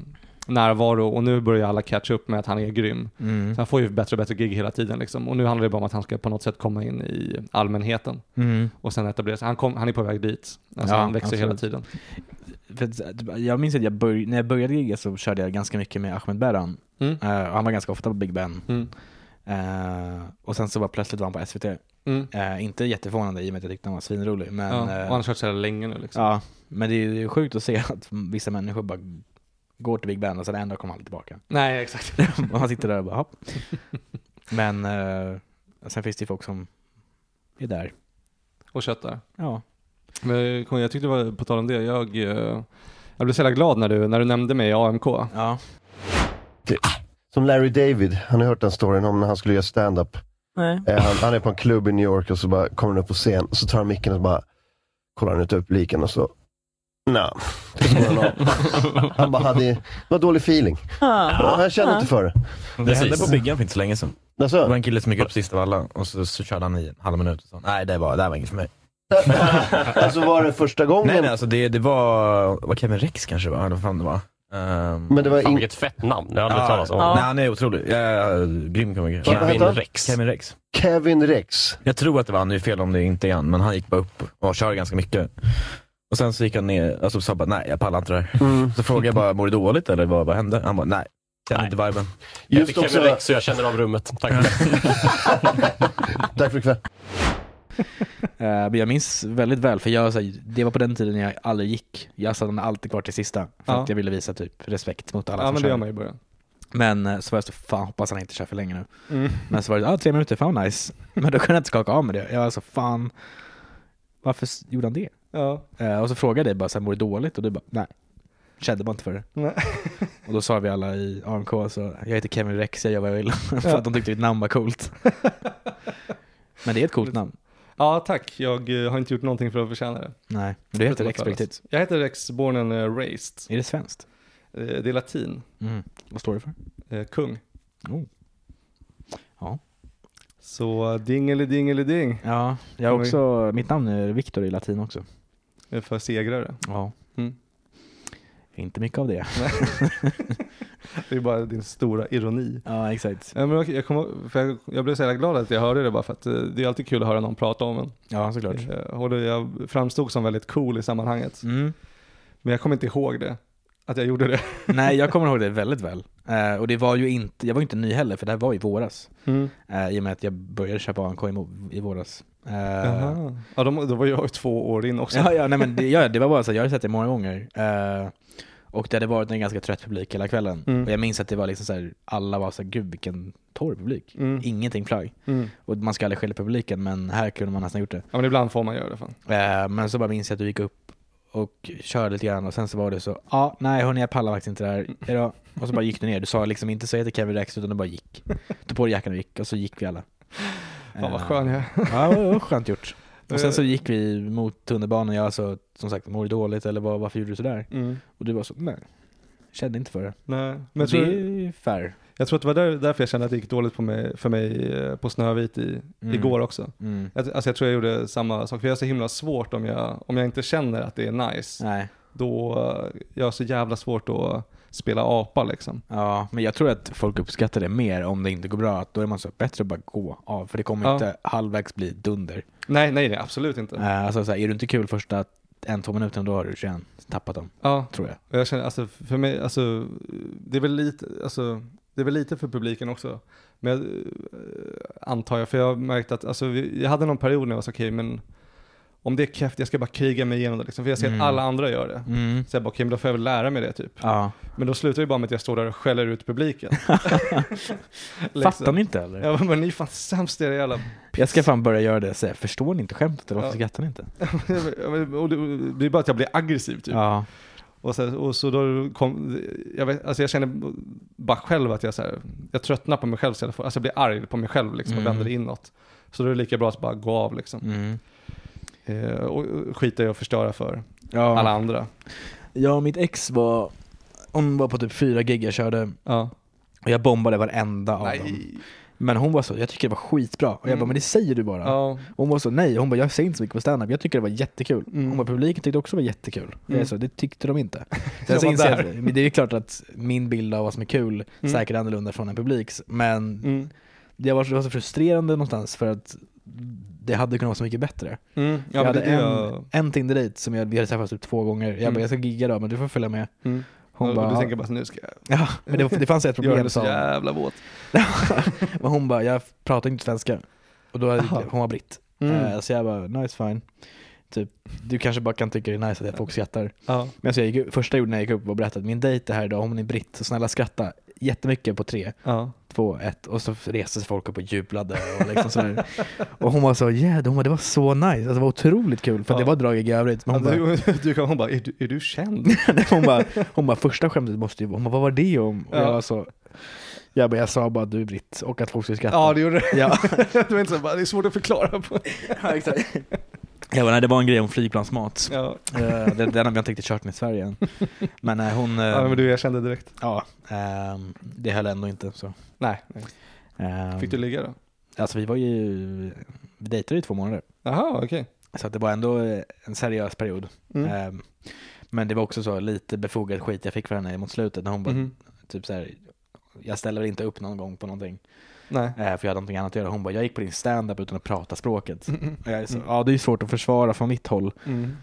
A: närvaro och nu börjar alla catch upp med att han är grym.
C: Mm.
A: Så han får ju bättre och bättre gig hela tiden liksom. Och nu handlar det bara om att han ska på något sätt komma in i allmänheten
C: Mm.
A: och sen etablera sig. Han, kom, han är på väg dit. Alltså
C: Ja,
A: han växer hela
C: absolut.
A: tiden.
C: För att jag minns att jag börj- när jag började gigga så körde jag ganska mycket med Ahmed Beran.
A: Mm.
C: Eh, och han var ganska ofta på Big Ben.
A: Mm.
C: Eh, och sen så bara plötsligt var han på SVT.
A: Mm.
C: Eh, inte jätteförvånande i och med att jag tyckte han var svinrolig. Men,
A: ja. Och
C: eh,
A: han har kört så här länge nu liksom.
C: ja, men det är ju sjukt att se att vissa människor bara går till Big Ben och sen en dag kommer han tillbaka.
A: Nej, exakt.
C: och man sitter där och bara hopp. Men eh, sen finns det ju folk som är där.
A: Och köttar.
C: Ja.
A: Men kom, jag tyckte det var, på tal om det, jag, eh, jag blev så jävla glad när du, när du nämnde mig i AMK.
C: ja.
D: Som Larry David, har ni hört den storyn om när han skulle göra stand-up?
C: Nej.
D: Eh, han, han är på en klubb i New York och så bara kommer han upp på scen och så tar han micken och så bara kollar han ut över publiken och så Nej, det går han av. Han bara hade, det var dålig feeling. Ja, Han kände inte för det.
E: Det
F: Precis.
E: hände på byggan för inte så länge sedan. Det var
D: Alltså,
E: en kille som gick upp sist av alla och så, så körde han i en halv minut och sa nej det var, det här var inget för mig.
D: alltså var det första gången?
E: Nej nej alltså det, det var, var Kevin Rex kanske det var, eller vad fan det var. Ehm,
D: Men det var
F: Fan
D: ing-
F: vilket fett namn, det har jag aldrig
E: ja,
F: hört talas om.
E: Nej han är otrolig, uh, grym komiker.
D: Vad heter
E: Kevin-
F: Kevin
D: han?
F: Rex.
E: Kevin Rex.
D: Kevin Rex.
E: Jag tror att det var han, nu är fel om det inte är han, men han gick bara upp och körde ganska mycket. Och sen så gick han ner och sa bara nej jag pallar inte det här.
D: Mm.
E: Så frågade jag bara, mår du dåligt eller vad, vad hände? Han bara nej, kände
F: Nej.
E: inte viben.
F: Jag
D: Just
F: fick
D: också,
F: Kevin Rex så jag känner av rummet. Tack för det.
D: tack för ikväll.
C: Eh, Men jag minns väldigt väl, för jag, så här, det var på den tiden jag aldrig gick. Jag stannade alltid kvar till sista, för
A: Ja.
C: att jag ville visa typ respekt mot alla
A: Ja
C: som
A: men det
C: kör.
A: gör man i början.
C: Men eh, så var jag så, fan hoppas han inte kör för länge nu.
A: Mm.
C: Men så var det, ah, tre minuter, fan vad nice. Men då kunde jag inte skaka av med det. Jag var så, fan, varför s- gjorde han det?
A: Ja.
C: Eh, Och så frågade jag dig bara, så här, mår du dåligt? Och du bara, nej. Kände bara inte för det.
A: Nej.
C: Och då sa vi alla i AMK, så, jag heter Kevin Rex, jag gör vad jag vill. för
A: Ja.
C: att de tyckte mitt namn var coolt. Men det är ett coolt namn.
A: ja tack, jag eh, har inte gjort någonting för att förtjäna det.
C: Nej, du heter
A: Förutom att
C: Rex på
A: födas.
C: riktigt.
A: Jag heter Rex Born and eh, Raised.
C: Är det svenskt?
A: Eh, Det är latin.
C: Mm. Vad står det för?
A: Eh, Kung.
C: Oh. Ja.
A: Så eh, dingelidingeliding
C: Ja, jag har också, mitt namn är Viktor i latin också.
A: eh, för segrare.
C: Ja.
A: Mm.
C: Inte mycket av det.
A: Det är bara din stora ironi.
C: Ja, exakt.
A: Ja, men okej, jag, kommer- för jag, jag blev så jävla glad att jag hörde det bara för att eh, det är alltid kul att höra någon prata om en.
C: Ja, såklart.
A: Eh, Och det, jag framstod som väldigt cool i sammanhanget.
C: Mm.
A: Men jag kommer inte ihåg det, att jag gjorde det.
C: Nej, jag kommer ihåg det väldigt väl. Eh, och det var ju inte, jag var ju inte ny heller, för det här var i våras. Eh, I och med att jag började köpa ANK i, mo- i våras. Eh,
A: Jaha. Ja, de, då var jag ju två år in också.
C: ja, ja, nej, men det, ja, det var bara så, här, jag hade sett det många gånger. Eh, och det hade varit en ganska trött publik hela kvällen.
A: Mm.
C: Och jag minns att det var liksom så här, alla var så här, gud vilken torr publik.
A: Mm.
C: Ingenting flög.
A: Mm.
C: Och man ska aldrig skälla på publiken, men här kunde man nästan gjort det.
A: Ja, men ibland får man göra det fan.
C: Eh, Men så bara minns jag att du gick upp och körde lite grann och sen så var det så, ja ah, nej hörni jag pallar faktiskt inte det här. Hejdå. Och så bara gick du ner, du sa liksom inte så jag heter Kevin Rex utan du bara gick. Tog på dig jackan och gick och så gick vi alla.
A: Fan vad
C: Eh,
A: skön jag är.
C: Ja det var skönt gjort. Och sen så gick vi mot tunnelbanan jag så som sagt mår du dåligt eller vad, varför gjorde du sådär?
A: Mm.
C: Och du var så, nej. Kände inte för det.
A: Nej. Men
C: Men
A: jag,
C: det är
A: tror,
C: ju fair.
A: jag tror att det var där, därför jag kände att det gick dåligt på mig, för mig eh, på Snövit i,
C: Mm.
A: igår också.
C: Mm.
A: Jag, alltså jag tror jag gjorde samma sak, för jag är så himla svårt om jag, om jag inte känner att det är nice.
C: Nej.
A: Då, eh, jag har så jävla svårt att spela apa liksom.
C: Ja, men jag tror att folk uppskattar det mer om det inte går bra. Att Då är man så bättre att bara gå av, för det kommer
A: Ja.
C: inte halvvägs bli dunder.
A: Nej, nej, nej absolut inte.
C: Eh, Alltså, så här, är du inte kul första en, två minuterna, då har du 21 tappat dem,
A: Ja,
C: tror jag.
A: Och jag känner, alltså för mig, alltså det är väl lite, alltså det är väl lite för publiken också. Men jag, eh, antar jag, för jag har märkt att, alltså vi, jag hade någon period när jag var så okej men om det är keft, jag ska bara kriga mig igenom det liksom. För jag ser
C: Mm.
A: att alla andra gör det.
C: Mm.
A: Så jag bara, okej men då får jag väl lära mig det typ.
C: Ja.
A: Men då slutar det bara med att jag står där och skäller ut publiken. liksom.
C: Fattar ni inte eller?
A: Jag bara, men ni är fan sämst i era jävla
C: Jag ska fan börja göra det, säga, förstår ni inte skämtet eller varför
A: Ja.
C: skrattar ni inte?
A: och det, det är bara att jag blir aggressiv typ.
C: Ja.
A: Och så, och så då kom, jag, vet, alltså jag känner bara själv att jag, så här, jag tröttnar på mig själv, så jag, får, alltså jag blir arg på mig själv liksom,
C: Mm.
A: och vänder inåt. Så då är det lika bra att bara gå av liksom.
C: Mm.
A: Eh, och och skita i att förstöra för alla
C: Ja.
A: andra.
C: ja, mitt ex var, hon var på typ fyra gig jag körde,
A: Ja.
C: och jag bombade varenda av dem.
A: Nej.
C: Men hon var så, jag tycker det var skitbra. Och jag
A: Mm.
C: bara, men det säger du bara.
A: Ja.
C: Hon var så, nej. Hon bara, jag ser inte så mycket på standup. Jag tycker det var jättekul.
A: Mm.
C: Hon bara, publiken tyckte också det var jättekul. Jag är
A: Mm.
C: så, det tyckte de inte.
A: Jag
C: Sen så
A: var
C: inser jag,
A: där.
C: att- men det är ju klart att min bild av vad som är kul
A: Mm.
C: säkert är annorlunda från en publiks. Men
A: Mm.
C: det var, så- det var så frustrerande någonstans för att det hade kunnat vara så mycket bättre.
A: Mm. Ja,
C: jag
A: men
C: hade
A: det är det
C: en,
A: jag...
C: en Tinder-dejt som jag, vi hade träffats typ två gånger. Jag
A: Mm.
C: bara, jag ska gigga då, men du får följa med.
A: Mm.
C: Hon
A: och,
C: bara,
A: och du
C: "Ja."
A: tänker bara så, nu ska jag
C: ja, men det, det fanns ett
A: göra
C: problem
A: det så
C: som
A: jävla våt.
C: Men hon bara, jag pratar inte svenska. Och då hade,
A: Aha.
C: hon var britt.
A: Mm.
C: Eh, Så jag bara, nice fine. Typ, du kanske bara kan tycka det är nice att folk skrattar.
A: Ja.
C: Men så jag gick, upp- första jag gjorde när jag gick upp var att berätta att min dejt är här idag, hon är britt, så snälla skratta jättemycket på tre,
A: Ja.
C: två, ett. Och så reste sig folk upp och jublade. Och, liksom sådär. och hon var så, yeah, hon bara, det var så nice. Alltså, det var otroligt kul, för
A: Ja.
C: det var drag i övrigt. Men hon, bara,
A: Alltså, du kan, hon bara, är du, är du känd?
C: hon, bara, hon bara, första skämtet måste ju vara, hon bara, vad var det om? Och
A: Ja.
C: jag var så, jag bara, jag sa bara att du är britt och att folk skulle skratta.
A: Ja, det gjorde det.
C: Ja.
A: det var inte så, bara, det är svårt att förklara. På.
C: Ja, exakt. Jag bara, nej, det var en grej om flygplansmat.
A: Ja.
C: Eh, den, den har vi inte riktigt kört med i Sverige än. Men nej, hon... eh,
A: ja, men du, jag kände direkt.
C: ja, ehm, det höll ändå inte. Så.
A: Nej. nej.
C: Ehm,
A: Fick du ligga då?
C: Alltså vi var ju... Vi dejtade i två månader.
A: Jaha, okej.
C: Så att det var ändå eh, en seriös period.
A: Mm.
C: Ehm, men det var också så lite befogad skit jag fick för henne mot slutet när hon bara
A: Mhm.
C: typ så här... Jag ställer inte upp någon gång på någonting.
A: Nej.
C: eh, för jag hade någonting annat att göra. Hon bara, jag gick på din stand-up utan att prata språket.
A: Mm, mm,
C: Och jag är så,
A: mm,
C: ja, det är ju svårt att försvara från mitt håll.
A: mm,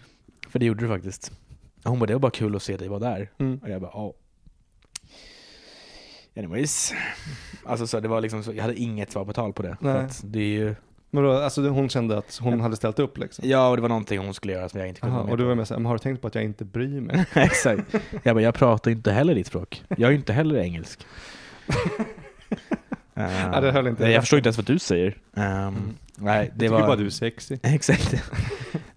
C: För det gjorde du faktiskt. Hon bara, det var bara kul att se dig vara där.
A: mm.
C: Och jag bara, ja. Anyways. Alltså så det var liksom, så, jag hade inget svar på tal på det. För
A: Nej.
C: att det är ju,
A: Men då, alltså hon kände att hon hade ställt upp liksom?
C: ja, och det var någonting hon skulle göra som jag inte kunde
A: Aha,
C: vara med
A: och du
C: på.
A: var med såhär, "Men har du tänkt på att jag inte bryr mig?
C: Exakt. Jag bara, jag pratar ju inte heller ditt språk. Jag är ju inte heller engelsk. Eh,
A: Ja, det höll inte.
C: nej, Jag förstår inte ens vad du säger. Ehm, Nej, det
A: jag
C: var...
A: tycker bara du är sexy.
C: Exakt.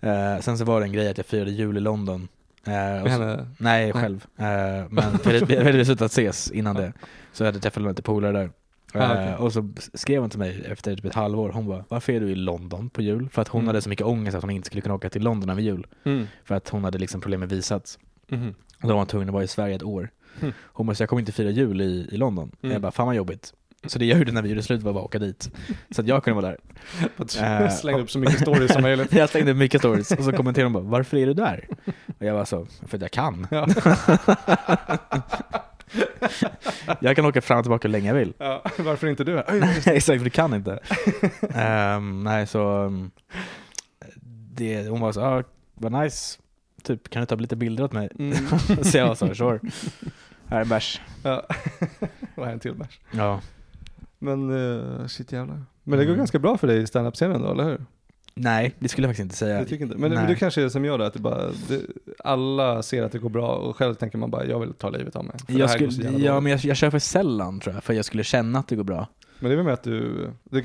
C: Eh, sen så var det en grej att jag firade jul i London. Eh,
A: Med
C: och så-
A: henne?
C: Nej, själv. Eh, men vi hade- vi hade beslutat ses innan det. Så jag hade träffat lite polare där.
A: Ah,
C: Eh,
A: okej.
C: Och så skrev hon till mig efter typ ett halvår. Hon bara, varför är du i London på jul? För att hon
A: Mm.
C: hade så mycket ångest att hon inte skulle kunna åka till London över jul.
A: Mm.
C: För att hon hade liksom problem med visat.
A: Mhm.
C: Och då var hon tvungen att vara i Sverige ett år.
A: Mm.
C: Hon bara, så jag kommer inte fira jul i, i London.
A: Mm.
C: Jag bara, fan vad jobbigt. Så det jag gjorde när vi gjorde slut var bara att åka dit. Så att jag kunde vara där.
A: För att
C: Eh,
A: slänga upp så mycket stories som möjligt.
C: jag slängde upp mycket stories och så kommenterade hon bara, varför är du där? Och jag var så, för att jag kan.
A: Ja.
C: Jag kan åka fram och tillbaka hur länge jag vill.
A: Ja, varför inte du? Oj,
C: Nej, exakt, för du kan inte. Ehm, nej, så um, det, hon var så, ah, vad nice, typ kan du ta upp lite bilder åt mig?
A: Mm.
C: så jag var så, sure. Här är en bärs.
A: Ja. Och här en till bärs.
C: Ja.
A: Men eh, shit jävlar. Men det går
C: Mm.
A: ganska bra för dig i standup-scenen då, eller hur?
C: Nej, det skulle jag faktiskt inte säga.
A: Jag tycker inte. Men, men
C: Eh, Nej.
A: du kanske är som jag då, att det bara, det, alla ser att det går bra och själv tänker man bara jag vill ta livet av mig. För det
C: Jag
A: här går så
C: skulle,
A: jävla
C: ja,
A: dåligt.
C: men jag, jag kör för sällan tror jag, för jag skulle känna att det går bra.
A: Men det är väl med att du, det,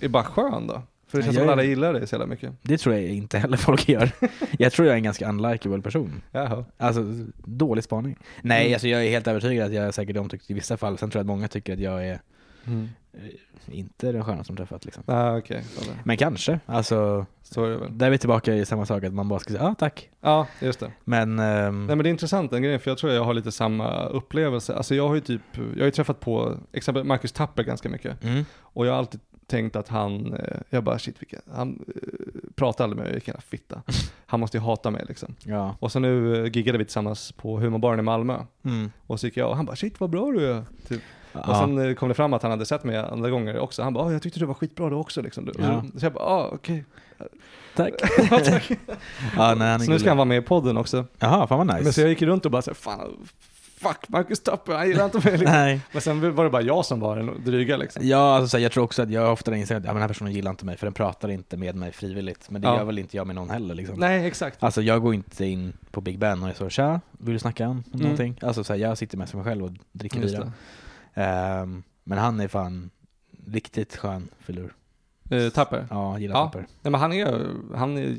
A: det är bara skön då? För det
C: Ja,
A: känns
C: jag
A: som att alla
C: är-
A: gillar dig så jävla mycket.
C: Det tror jag inte heller folk gör. Jag tror jag är en ganska unlikable person.
A: Jaha.
C: Alltså, dålig spaning. Nej,
A: Mm.
C: alltså jag är helt övertygad att jag är säkert omtyckt i vissa fall. Sen tror jag att många tycker att jag är
A: Mm.
C: inte den skönaste som träffat liksom.
A: Ah, okej, okay.
C: Men kanske. Alltså,
A: så är det väl.
C: där är vi tillbaka i samma sak, att man bara ska säga ja ah, tack.
A: Ja, just det.
C: Men, ehm,
A: Nej men det är intressant den grejen, för jag tror jag har lite samma upplevelse. Alltså jag har ju typ, jag har ju träffat på, exempel Marcus Tapper ganska mycket.
C: mm,
A: Och jag har alltid tänkt att han, eh, jag bara shit vilken, han eh, pratar aldrig med mig, vilken jävla fitta. Han måste ju hata mig liksom.
C: ja.
A: Och så nu eh, giggade vi tillsammans på humorbaren i Malmö.
C: Mm.
A: Och så gick jag och han bara shit vad bra du är. Typ. Och
C: Ja.
A: sen eh, kom det fram att han hade sett mig andra gånger också. Han bara "Ah, jag tyckte du var skitbra du också liksom. Du-
C: Ja.
A: Så jag bara ah, okej.
C: tack.
A: Ja, tack.
C: ja, nej, han
A: så
C: är
A: nu ska
C: gullig.
A: han vara med i podden också.
C: Jaha, fan vad
A: Men så jag
C: nice.
A: gick runt och bara så här, fan fuck Marcus Tapper, han gillar inte mig. Liksom.
C: Nej.
A: Men sen var det bara jag som var den dryga liksom.
C: Ja, alltså, så här, jag tror också att jag ofta inser att ja, men den här personen gillar inte mig för den pratar inte med mig frivilligt. Men det
A: Ja.
C: gör väl inte jag med någon heller liksom.
A: Nej exakt.
C: Alltså jag går inte in på Big Ben och är så tja, vill du snacka om någonting? Alltså så här, jag sitter mest för mig själv och dricker
A: Mm. Just
C: bira.
A: det.
C: Ehm, men han är fan riktigt skön filur.
A: Eh, Tapper.
C: Ja, jag gillar
A: Ja.
C: papper.
A: Nej men han är, han är,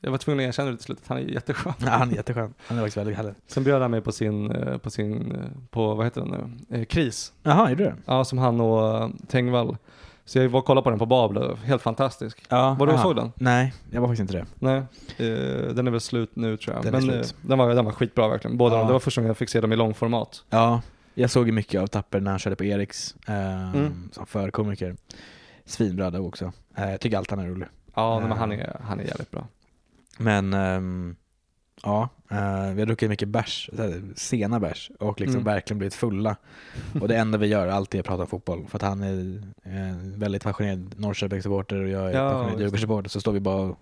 A: jag var tvungen att erkänna det till slut, han är jätteskön.
C: Ja, han är jätteskön. Han är faktiskt väldigt härlig.
A: Sen bjöd han mig på sin, eh, på sin, eh, på vad heter den nu, Eh, KRIS.
C: Jaha, gjorde du det?
A: Ja, som han och eh, Tengvall. Så jag var och kollade på den på Babel, helt fantastisk.
C: Ja,
A: Var du och
C: aha.
A: såg den?
C: Nej, jag var faktiskt inte det.
A: Nej, eh, den är väl slut nu tror jag.
C: Den är
A: Men
C: slut.
A: eh, den, var, den var skitbra verkligen, båda
C: Ja.
A: de. Det var första gången jag fick se dem i långformat.
C: Ja, Jag såg ju mycket av Tapper när han körde på Eriks eh,
A: Mm.
C: som förkomiker. Svinbra då också. Eh, jag tycker allt han är rolig.
A: Ja, nej, men han är, han är jävligt bra.
C: Men ehm, ja, eh, vi har druckit mycket bärs, så här, sena bärs och liksom
A: Mm.
C: verkligen blivit fulla. Och det enda vi gör alltid är att prata om fotboll. För att han är eh, väldigt passionerad Norrköpingssupporter och jag är
A: Ja,
C: passionerad
A: just.
C: Djurgårdssupporter. Så står vi bara och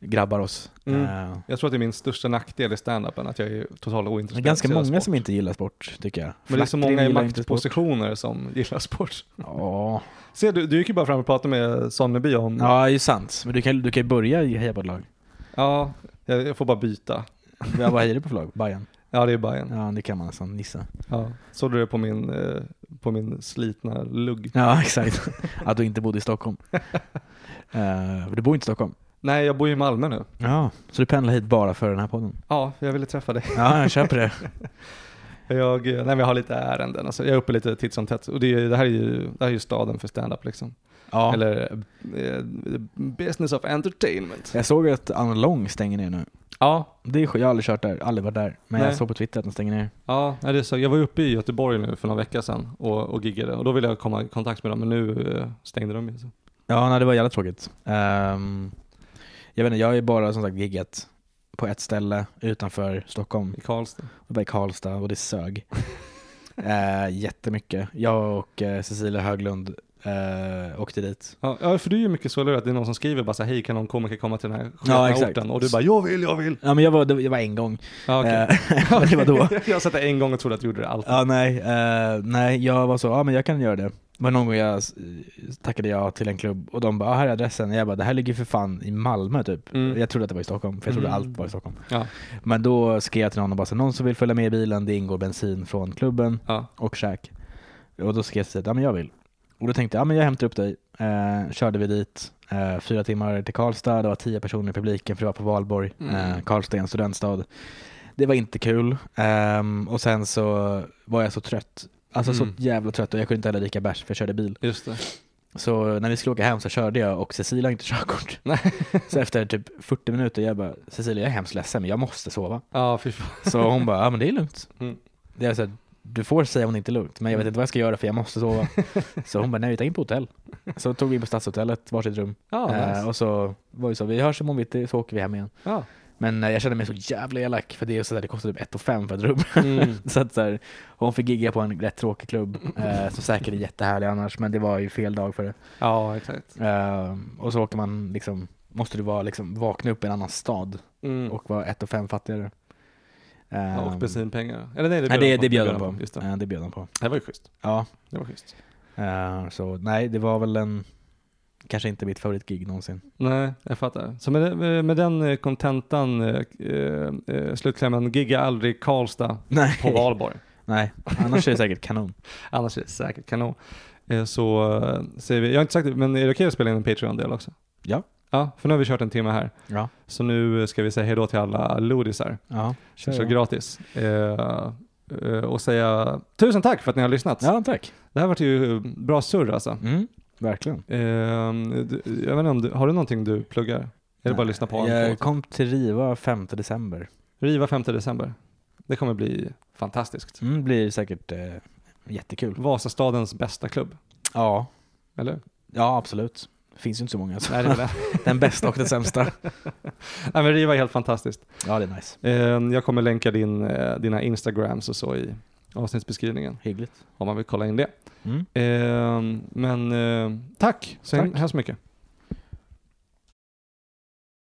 C: grabbar oss.
A: Mm.
C: Eh,
A: Jag tror att det är min största nackdel i stand-upen att jag är totalt
C: det är
A: ointresserad.
C: ganska
A: av
C: många
A: sport.
C: som inte gillar sport tycker jag.
A: Men det är så
C: Flackring
A: många i
C: gillar inte sport.
A: maktpositioner som gillar sport.
C: Ja,
A: Se, du, du gick ju bara fram och pratade med Sonneby om...
C: ja det är ju sant. Men du kan ju du kan ju börja i- heja på ett lag.
A: Ja, jag, jag får bara byta.
C: Ja, Vad hejar du på för lag? Bayern?
A: Ja, det är Bayern.
C: Ja, det kan man nästan gissa.
A: Ja. Såg du det på min, eh, på min slitna lugg?
C: Ja, exakt. Att du inte bodde i Stockholm. Eh, för du bor inte i Stockholm.
A: Nej, jag bor ju i Malmö nu.
C: Ja, så du pendlar hit bara för den här podden?
A: Ja, jag ville träffa dig.
C: Ja, jag köper det.
A: Jag, eh, nej, men jag har lite ärenden. Alltså, jag är uppe lite titt som tätt. Och det, är- det, här är ju, det här är ju staden för stand-up liksom.
C: Ja.
A: Eller eh, business of entertainment.
C: Jag såg att Anna Lång stänger ner nu.
A: Ja,
C: Det är, sjuk- jag har aldrig kört där, aldrig varit där. Men
A: Nej.
C: jag såg på Twitter att den stänger ner.
A: Ja, nej, det är så. jag var ju uppe i Göteborg nu för några veckor sedan och, och giggade och då ville jag komma i kontakt med dem men nu eh, stängde de ju. så.
C: Ja, nej, det var jävla tråkigt. Ehm, jag vet inte, jag har ju bara som sagt giggat på ett ställe utanför Stockholm.
A: I Karlstad.
C: Det var i Karlstad och det sög. uh, jättemycket. Jag och eh, Cecilia Höglund eh, åkte dit.
A: Ja, ja, för du är ju mycket så, eller hur? Att det är någon som skriver bara så här, hej kan någon komiker komma till den här
C: Ja,
A: ja,
C: exakt.
A: orten? Och du bara, jag vill, jag vill!
C: Ja, men jag var, det var- jag var en gång.
A: Ja, okej.
C: Eh, men det var då.
A: jag satt där en gång och trodde att du gjorde det alltid.
C: Ja, nej, eh, nej, jag var så, ja men jag kan göra det. Men någon gång jag eh, tackade jag till en klubb och de bara, ah, här är adressen. Jag bara, det här ligger för fan i Malmö typ.
A: Mm.
C: Jag trodde att det var i Stockholm, för jag trodde
A: Mm.
C: allt var i Stockholm.
A: Ja.
C: Men då skrev jag till någon och bara, så, någon som vill följa med i bilen, det ingår bensin från klubben
A: Ja.
C: och käk. Och då skrev jag, ja men jag vill. Och då tänkte jag, ja men jag hämtar upp dig. Eh, körde vi dit, eh, fyra timmar till Karlstad, det var tio personer i publiken för det var på valborg.
A: Mm.
C: Eh, Karlstad är en studentstad. Det var inte kul. Ehm, och sen så var jag så trött. Alltså
A: Mm.
C: så jävla trött och jag kunde inte heller dricka bärs för jag körde bil.
A: Just det.
C: Så när vi skulle åka hem så körde jag och Cecilia har inte körkort.
A: Nej.
C: Så efter typ 40 minuter jag bara, Cecilia jag är hemskt ledsen men jag måste sova.
A: Ja, fy fan.
C: Så hon bara, ja men det är lugnt.
A: Mm.
C: Det är så här, du får säga om det inte är lugnt, men jag vet inte vad jag ska göra för jag måste sova. så hon bara, nej vi tar in på hotell. Så tog vi in på Stadshotellet, varsitt rum.
A: Ja, nice.
C: Eh, och så var det så, vi hörs imorgon bitti, så åker vi hem igen.
A: ja.
C: Men eh, jag kände mig så jävla elak, för det, är så där, det kostade typ 1 5 för ett rum.
A: Mm.
C: så att så här, hon fick gigga på en rätt tråkig klubb, eh, som säkert är jättehärlig annars, men det var ju fel dag för det.
A: ja exakt.
C: Eh, och så åker man liksom, måste du vara, liksom, vakna upp i en annan stad
A: Mm. Och,
C: och vara 1 5 fattigare.
A: ja, och
C: Ehm,
A: bensinpengar. Eller nej, det
C: Nej,
A: bjöd,
C: det,
A: de
C: det bjöd
A: de
C: han på.
A: Just det.
C: Eh, det bjöd han på.
A: det var ju schysst.
C: Ja,
A: Det var schysst.
C: eh, så nej, det var väl en, kanske inte mitt favoritgig någonsin.
A: Nej, jag fattar. Så med, den- med den eh, kontentan, eh, eh, slutklämmen, gigga aldrig Karlstad
C: Nej,
A: på valborg.
C: nej. annars är det säkert kanon.
A: Annars är det säkert kanon. Eh, Så eh, säger vi, jag har inte sagt det, men är det okej att spela in en Patreon-del också?
C: Ja.
A: Ja, för nu har vi kört en timme här.
C: Ja.
A: Så nu eh, ska vi säga hejdå till alla lodisar.
C: Ja,
A: Kör
C: ja.
A: gratis. Eh, eh, och säga tusen tack för att ni har lyssnat.
C: ja tack.
A: Det här vart ju bra surr alltså.
C: Mm, verkligen.
A: Eh, du- jag vet inte om du, har du någonting du pluggar? Är det bara att lyssna på en
C: Jag
A: låt?
C: kom till Riva 5 december.
A: Riva 5 december. Det kommer bli fantastiskt.
C: Mm, blir säkert eh, jättekul.
A: Vasastadens bästa klubb,
C: Ja.
A: eller?
C: ja, absolut. Finns ju inte så många. Så.
A: Nej, det är det.
C: Den bästa och den sämsta.
A: Nej, men Riva är helt fantastiskt.
C: Ja, det är nice.
A: Eh, Jag kommer länka din, eh, dina Instagrams och så i avsnittsbeskrivningen
C: Hyggligt.
A: om man vill kolla in det.
C: Mm.
A: Eh, Ehm, Men eh, tack så
C: Tack.
A: hemskt mycket.